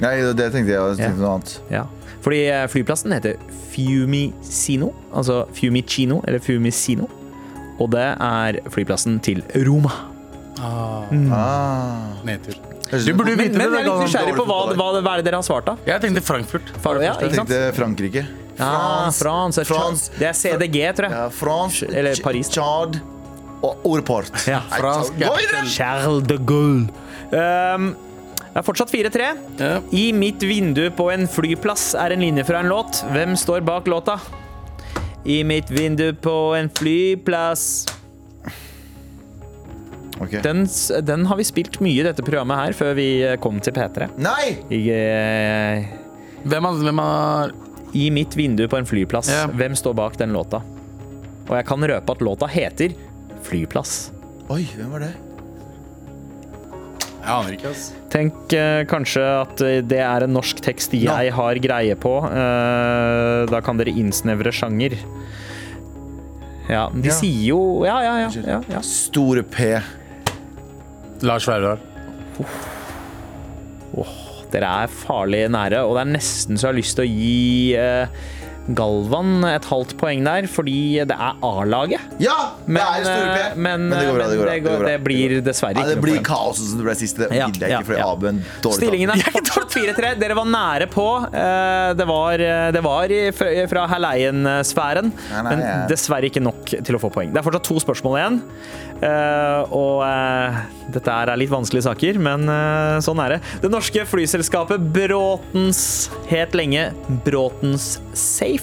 Speaker 2: Nei, det tenkte jeg. Jeg tenkte noe annet.
Speaker 3: Ja, fordi eh, flyplassen heter Fiumicino, altså Fiumicino eller Fiumicino. Og det er flyplassen til Roma.
Speaker 2: Ah.
Speaker 4: Nedtur.
Speaker 2: Høres ut
Speaker 4: Du
Speaker 2: som-
Speaker 4: burde
Speaker 3: Men,
Speaker 4: vite
Speaker 3: men jeg
Speaker 4: det.
Speaker 3: er litt
Speaker 4: Galvan.
Speaker 3: nysgjerrig på hva, hva, hva er det dere har svart, da?
Speaker 4: Jeg tenkte Frankfurt.
Speaker 3: Far, ja,
Speaker 2: Jeg
Speaker 3: ikke sant?
Speaker 2: tenkte Frankrike.
Speaker 3: Ah,
Speaker 2: France.
Speaker 3: France,
Speaker 2: France.
Speaker 3: Det er CDG, tror jeg.
Speaker 2: Ja, France.
Speaker 3: Eller
Speaker 2: Ch-
Speaker 3: Paris.
Speaker 2: Chad. Og Orport.
Speaker 3: Ja,
Speaker 2: Nei,
Speaker 4: fransk
Speaker 2: gå i den!
Speaker 3: Charles de Gaulle. Ehm, det er fortsatt 4-3.
Speaker 4: Ja.
Speaker 3: I mitt vindu på en flyplass er en linje fra en låt. Hvem står bak låta? I mitt vindu på en flyplass
Speaker 2: Ok.
Speaker 3: Den, s- den har vi spilt mye i dette programmet her før vi eh, kom til P3.
Speaker 2: Nei!
Speaker 3: I, eh,
Speaker 4: Hvem har, hvem har
Speaker 3: I mitt vindu på en flyplass,
Speaker 4: Ja.
Speaker 3: hvem står bak den låta? Og jeg kan røpe at låta heter Flyplass.
Speaker 2: Oi, hvem var det?
Speaker 4: Jeg aner ikke, ass.
Speaker 3: Tenk eh, kanskje at eh, det er en norsk tekst jeg har greie på. Eh, da kan dere innsnevre sjanger. Ja, de
Speaker 2: Ja.
Speaker 3: sier jo Ja, ja, ja. ja, ja.
Speaker 2: Store P.
Speaker 4: Lars Vaular.
Speaker 3: Dere er farlig nære, og det er nesten så jeg har lyst til å gi eh, Galvan et halvt poeng der, fordi det er A-laget.
Speaker 2: Ja! det er
Speaker 3: Men,
Speaker 2: Store P.
Speaker 3: eh, men,
Speaker 2: det går bra. Det, går bra,
Speaker 3: men det går-
Speaker 2: bra,
Speaker 3: det blir dessverre
Speaker 2: Nei,
Speaker 3: ikke
Speaker 2: det
Speaker 3: noe
Speaker 2: blir
Speaker 3: poeng.
Speaker 2: kaos som det ble sist. Det
Speaker 3: Ja,
Speaker 2: gidder jeg
Speaker 3: ja,
Speaker 2: ikke, fordi
Speaker 3: ja.
Speaker 2: Abu er en dårlig *laughs*
Speaker 3: Stillingen er fortsatt 4-3. Dere var nære på. Eh, Det var, det var i- fra- fra Herleien-sfæren,
Speaker 2: Nei, nei,
Speaker 3: men
Speaker 2: jeg-
Speaker 3: dessverre ikke nok til å få poeng. Det er fortsatt to spørsmål igjen. Eh, Og eh, dette her er litt vanskelige saker, men eh, sånn er det. Det norske flyselskapet Bråtens het lenge Bråtens Safe.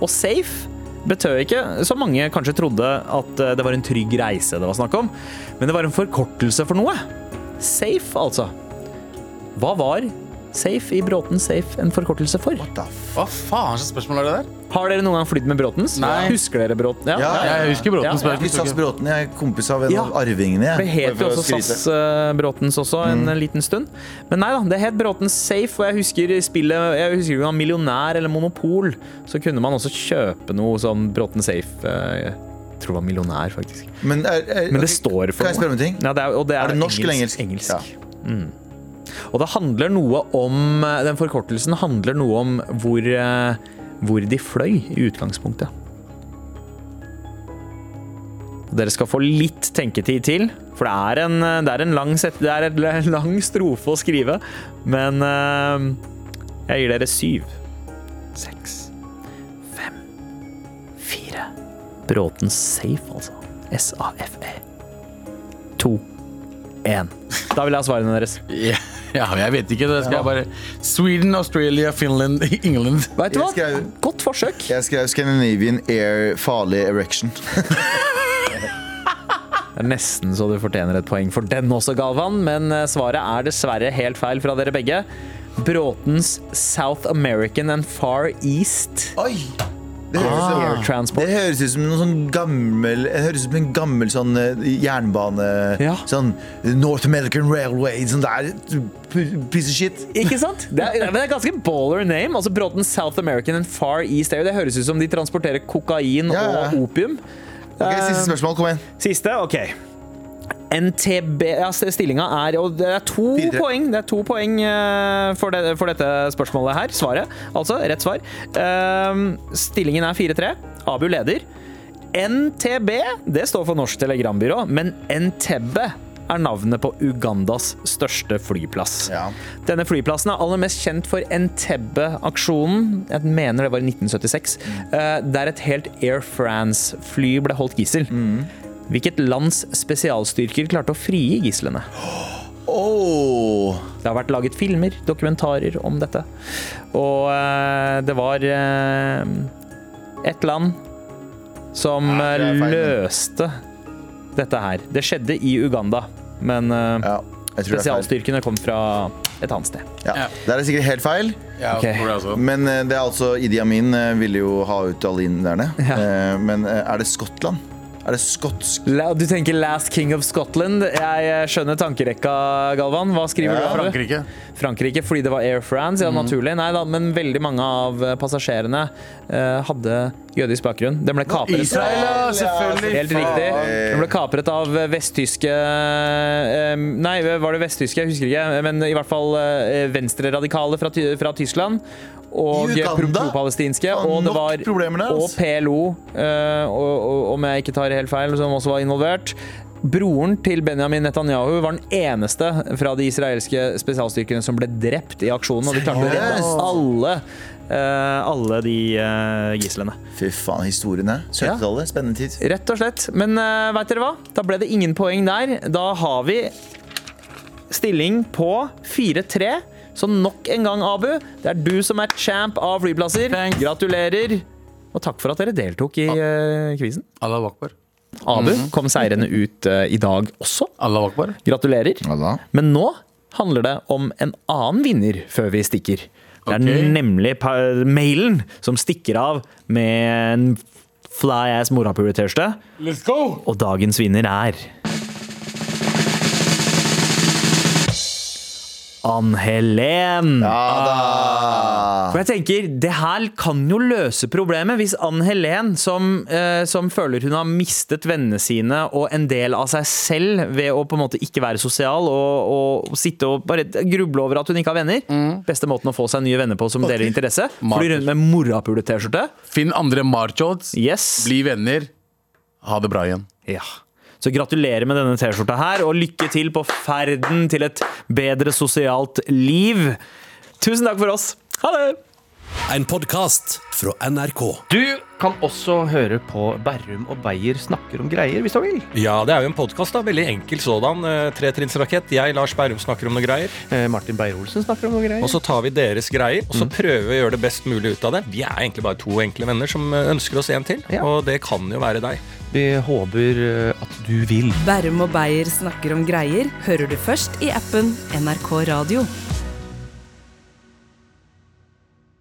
Speaker 3: Og safe betød ikke, som mange kanskje trodde, at eh, det var en trygg reise det var snakk om, men det var en forkortelse for noe. Safe, altså. Hva var Safe i Bråten Safe en forkortelse for?
Speaker 4: Hva faen slags spørsmål er det der?
Speaker 3: Har dere noen gang flydd med Bråtens?
Speaker 4: Nei.
Speaker 3: Husker dere Bråten?
Speaker 2: Ja,
Speaker 4: Ja, jeg husker
Speaker 3: Ja,
Speaker 4: Bråten
Speaker 3: ja.
Speaker 4: spørsmål.
Speaker 2: Litt SAS Bråten, jeg er kompis av en
Speaker 3: Ja.
Speaker 2: av arvingene.
Speaker 3: Det
Speaker 2: Jeg.
Speaker 3: het jo
Speaker 2: Bare for
Speaker 3: også
Speaker 2: å skryte. Mm.
Speaker 3: SAS eh, Bråtens også en eh, liten stund. Men nei da, det het Bråtens Safe, og jeg husker spillet Jeg husker ikke om det var Millionær eller Monopol. Så kunne man også kjøpe noe som Bråten Safe. eh, Jeg tror det var Millionær, faktisk.
Speaker 2: Men, er, er,
Speaker 3: Men det
Speaker 2: ok,
Speaker 3: står for
Speaker 2: Kan jeg spørre om en ting?
Speaker 3: Ja, det er, og det er,
Speaker 2: Er det norsk eller engelsk?
Speaker 3: Engelsk. Mm. Og det handler noe om eh, Den forkortelsen handler noe om hvor, eh, hvor de fløy i utgangspunktet. Dere skal få litt tenketid til, for det er en, eh, det er en, lang, set, det er en *laughs* lang strofe å skrive. Men eh, jeg gir dere syv. Seks. Fem. Fire. Bråten safe, altså. S-A-F-E. To. Én. Da vil jeg ha svarene deres.
Speaker 4: Ja, ja, men jeg vet ikke. Det skal jeg bare Sweden, Australia, Finland, *laughs* England.
Speaker 3: Vet du
Speaker 2: Jeg
Speaker 3: hva?
Speaker 2: skrev-
Speaker 3: Godt forsøk.
Speaker 2: Jeg skrev Scandinavian Air Farlig Erection.
Speaker 3: Det er nesten så du fortjener et poeng for den også, Galvan, men eh, svaret er dessverre helt feil fra dere begge. Bråtens South American and Far East
Speaker 2: Oi! Det høres,
Speaker 3: Ah. Air
Speaker 2: ut, det
Speaker 3: Transport.
Speaker 2: høres ut som noe sånn gammel Det høres ut som en gammel sånn eh, jernbane
Speaker 3: Ja.
Speaker 2: Sånn North American Railway Sånn der p- Piece of shit
Speaker 3: Ikke sant? Det er, men det er ganske baller name. Altså Bråtens South American and Far East Air. Det høres ut som de transporterer kokain
Speaker 2: Ja, ja.
Speaker 3: og opium.
Speaker 2: Ok,
Speaker 3: Eh.
Speaker 2: siste spørsmål, kom igjen
Speaker 3: Siste, ok. NTB ja, Stillinga er Og det er to
Speaker 2: Fire.
Speaker 3: poeng Det er to poeng eh, for, det, for dette spørsmålet her. Svaret. Altså, rett svar. Ehm, stillingen er 4-3. Abu leder. NTB det står for Norsk Telegrambyrå, men Entebbe er navnet på Ugandas største flyplass.
Speaker 2: Ja.
Speaker 3: Denne flyplassen er aller mest kjent for Entebbe-aksjonen. Jeg mener det var i 1976.
Speaker 2: Mm.
Speaker 3: eh, Der et helt Air France-fly ble holdt gissel.
Speaker 2: Mm.
Speaker 3: Hvilket lands spesialstyrker klarte å frigi gislene?
Speaker 2: *gasps* Åh
Speaker 3: Det har vært laget filmer, dokumentarer om dette. Og eh, det var eh, et land som
Speaker 2: Ja, det er
Speaker 3: eh,
Speaker 2: feil, men-
Speaker 3: løste dette her. Det skjedde i Uganda, men eh,
Speaker 2: Ja, jeg tror det er feil
Speaker 3: spesialstyrkene kom fra et annet sted.
Speaker 2: ja. Der er sikkert helt feil
Speaker 4: Ja,
Speaker 3: Ok.
Speaker 4: tror jeg også.
Speaker 2: Men eh, det er altså Idi Amin eh, ville jo ha ut alle inderne Eh, Men eh, er det Skottland? Er det skotsk?
Speaker 3: La- Du tenker Last King of Scotland. Jeg eh, skjønner tankerekka, Galvan. Hva skriver
Speaker 2: Ja. Mm.
Speaker 3: du? Abu?
Speaker 4: Frankrike.
Speaker 3: Frankrike, fordi det var Air France. Ja, naturlig. Nei da, men veldig mange av eh, passasjerene eh, hadde jødisk bakgrunn. Den ble kapret
Speaker 4: Israel, ja, selvfølgelig.
Speaker 3: Helt riktig. Den ble kapret av vesttyske eh, Nei, var det vesttyske? Jeg husker ikke. Men i hvert fall eh, venstreradikale fra, Ty- fra Tyskland. Og
Speaker 2: I Uganda?
Speaker 3: pro-palestinske.
Speaker 2: Faen,
Speaker 3: Og det
Speaker 2: nok
Speaker 3: var
Speaker 2: problemer der,
Speaker 3: og
Speaker 2: ass.
Speaker 3: PLO, eh, og, og, om jeg ikke tar helt feil, som også var involvert. Broren til Benjamin Netanyahu var den eneste fra de israelske spesialstyrkene som ble drept i aksjonen. Og de klarte å redde
Speaker 2: Seriøst?
Speaker 3: alle, eh, alle de eh, gislene.
Speaker 2: Fy faen, historiene 70-tallet, spennende tid
Speaker 3: Rett og slett. Men uh, veit dere hva? Da ble det ingen poeng der. Da har vi stilling på 4-3. Så nok en gang, Abu, det er du som er champ av flyplasser.
Speaker 4: Thanks.
Speaker 3: Gratulerer. Og takk for at dere deltok i uh, quizen.
Speaker 4: Allah akbar.
Speaker 3: Abu kom seirende ut eh, i dag også.
Speaker 4: Allah akbar.
Speaker 3: Gratulerer.
Speaker 2: Allah.
Speaker 3: Men nå handler det om en annen vinner før vi stikker. Det er
Speaker 4: Ok.
Speaker 3: nemlig pa- mailen som stikker av med en fly ass morapuletørste.
Speaker 4: Let's go!
Speaker 3: Og dagens vinner er Ann-Helen.
Speaker 2: Ah.
Speaker 3: For jeg tenker, Det her kan jo løse problemet hvis Ann-Helen, som, eh, som føler hun har mistet vennene sine og en del av seg selv ved å på en måte ikke være sosial og, og sitte og bare gruble over at hun ikke har venner Beste måten å få seg nye venner på som deler interesse. Fly rundt med morapule-T-skjorte.
Speaker 4: Finn andre marchods.
Speaker 3: Yes.
Speaker 4: Bli venner. Ha det bra igjen.
Speaker 3: Ja. Så gratulerer med denne T-skjorta her, og lykke til på ferden til et bedre sosialt liv. Tusen takk for oss. Ha det!
Speaker 7: En podkast fra NRK.
Speaker 8: Du kan også høre på Berrum og Beyer snakker om greier, hvis du vil.
Speaker 9: Ja, det er jo en podkast, veldig enkel sådan. Eh, Tretrinnsrakett. Jeg, Lars Berrum, snakker om noe greier.
Speaker 8: Eh, Martin Beyer-Olsen snakker om noen greier.
Speaker 9: Og så tar vi deres greier, og så prøver vi å gjøre det best mulig ut av det. Vi er egentlig bare to enkle venner som eh, ønsker oss en til,
Speaker 8: Ja.
Speaker 9: og det kan jo være deg.
Speaker 8: Vi håper eh, at du vil.
Speaker 1: Bærum og Beyer snakker om greier hører du først i appen NRK Radio.